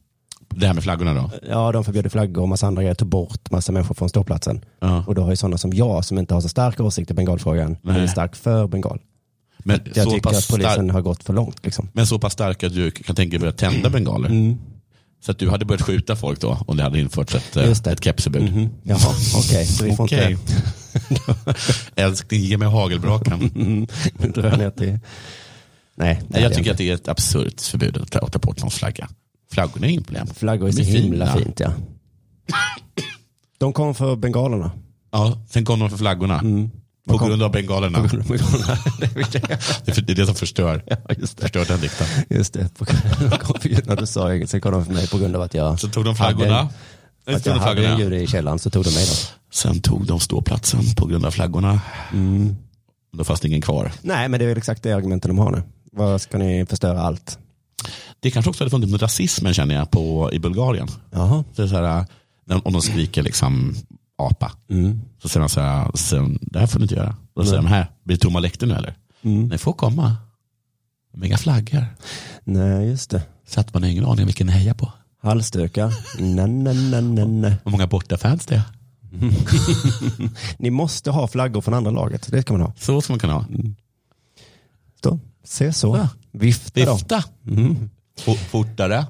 [SPEAKER 2] Det här med flaggorna då?
[SPEAKER 1] Ja, de förbjöd flaggor och massa andra grejer, tog bort massa människor från ståplatsen.
[SPEAKER 2] Ja.
[SPEAKER 1] Och då har ju sådana som jag, som inte har så starka åsikter i bengalfrågan,
[SPEAKER 2] Nej.
[SPEAKER 1] men stark för bengal.
[SPEAKER 2] Men
[SPEAKER 1] Jag
[SPEAKER 2] så
[SPEAKER 1] tycker
[SPEAKER 2] pass
[SPEAKER 1] att polisen
[SPEAKER 2] stark-
[SPEAKER 1] har gått för långt. Liksom.
[SPEAKER 2] Men så pass starka att du kan tänka dig att börja
[SPEAKER 1] Mm.
[SPEAKER 2] tända bengaler. Så att du hade börjat skjuta folk då om det hade införts ett, eh,
[SPEAKER 1] Just det.
[SPEAKER 2] ett kepsförbud.
[SPEAKER 1] Mhm. Jaha, okej. Så vi får
[SPEAKER 2] Okej.
[SPEAKER 1] inte
[SPEAKER 2] Älskling, ge mig hagelbrakan.
[SPEAKER 1] Mm. dra ner till... Nej, det
[SPEAKER 2] Nej,
[SPEAKER 1] hade
[SPEAKER 2] jag tycker
[SPEAKER 1] inte.
[SPEAKER 2] att det är ett absurt förbud att ta att ta bort någons flagga. Flaggorna är inget problem.
[SPEAKER 1] Flaggor är så
[SPEAKER 2] De är
[SPEAKER 1] himla
[SPEAKER 2] fina.
[SPEAKER 1] fint, ja. De kom för bengalerna.
[SPEAKER 2] Ja, sen kom de för flaggorna.
[SPEAKER 1] Mm.
[SPEAKER 2] På grund av bengalerna. Det är för- det är det som förstör.
[SPEAKER 1] just
[SPEAKER 2] Förstör den dikten.
[SPEAKER 1] Just det, på grund av konflikten när du sa inget, sen kom de för mig på grund av att jag,
[SPEAKER 2] Så tog de flaggorna. Sen
[SPEAKER 1] att
[SPEAKER 2] tog
[SPEAKER 1] jag
[SPEAKER 2] de
[SPEAKER 1] hade en
[SPEAKER 2] flaggorna.
[SPEAKER 1] jude i källaren, så tog de mig då.
[SPEAKER 2] Sen tog de ståplatsen på grund av flaggorna. Mm. Då fanns det ingen kvar.
[SPEAKER 1] Nej, men det är väl exakt det argumenten de har nu. Vad ska ni förstöra allt?
[SPEAKER 2] Det kanske också hade funnits med rasismen känner jag på, i Bulgarien.
[SPEAKER 1] Jaha.
[SPEAKER 2] Så det är så här, när, om de skriker liksom apa,
[SPEAKER 1] Mm.
[SPEAKER 2] så säger de så här, så säger de, det här får ni inte göra. Då säger de, här, blir det tomma läktare nu eller?
[SPEAKER 1] Mm.
[SPEAKER 2] Ni får komma. Men inga flaggor.
[SPEAKER 1] Nej, just det.
[SPEAKER 2] Så att man har ingen aning om vilken ni hejar på.
[SPEAKER 1] Halsdukar. Nej, nej, nej, nej, nej.
[SPEAKER 2] Hur många bortafans det är.
[SPEAKER 1] Ni måste ha flaggor från andra laget. Det ska man ha.
[SPEAKER 2] Så som man kan ha.
[SPEAKER 1] Då, se så.
[SPEAKER 2] Ja.
[SPEAKER 1] Vifta då.
[SPEAKER 2] Vifta. Fo- Fortare.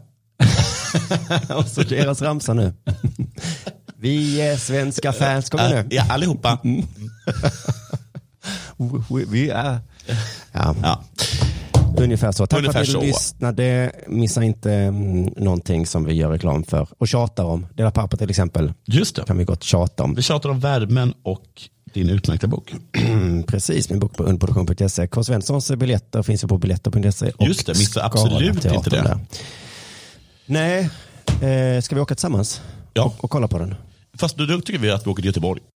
[SPEAKER 1] Och så deras ramsa nu. Vi är svenska fans. Kom igen nu.
[SPEAKER 2] Eh, Ja, allihopa.
[SPEAKER 1] Vi är... Ja.
[SPEAKER 2] Ja.
[SPEAKER 1] Ungefär så. Tack
[SPEAKER 2] Ungefär
[SPEAKER 1] för att
[SPEAKER 2] så.
[SPEAKER 1] ni lyssnade. Missa inte mm, någonting som vi gör reklam för och tjatar om. Dela papper till exempel
[SPEAKER 2] Just det.
[SPEAKER 1] kan vi gott tjata om.
[SPEAKER 2] Vi tjatar om värmen och din utmärkta bok.
[SPEAKER 1] Mm, Precis, min bok på underproduktion.se. K. Svenssons biljetter finns ju på biljetter.se. och
[SPEAKER 2] Just det, missa
[SPEAKER 1] Skala
[SPEAKER 2] absolut inte
[SPEAKER 1] Teatern
[SPEAKER 2] det.
[SPEAKER 1] där. Nej, eh, ska vi åka tillsammans
[SPEAKER 2] Ja.
[SPEAKER 1] och, och kolla på den?
[SPEAKER 2] Fast då då tycker vi att vi åker till Göteborg.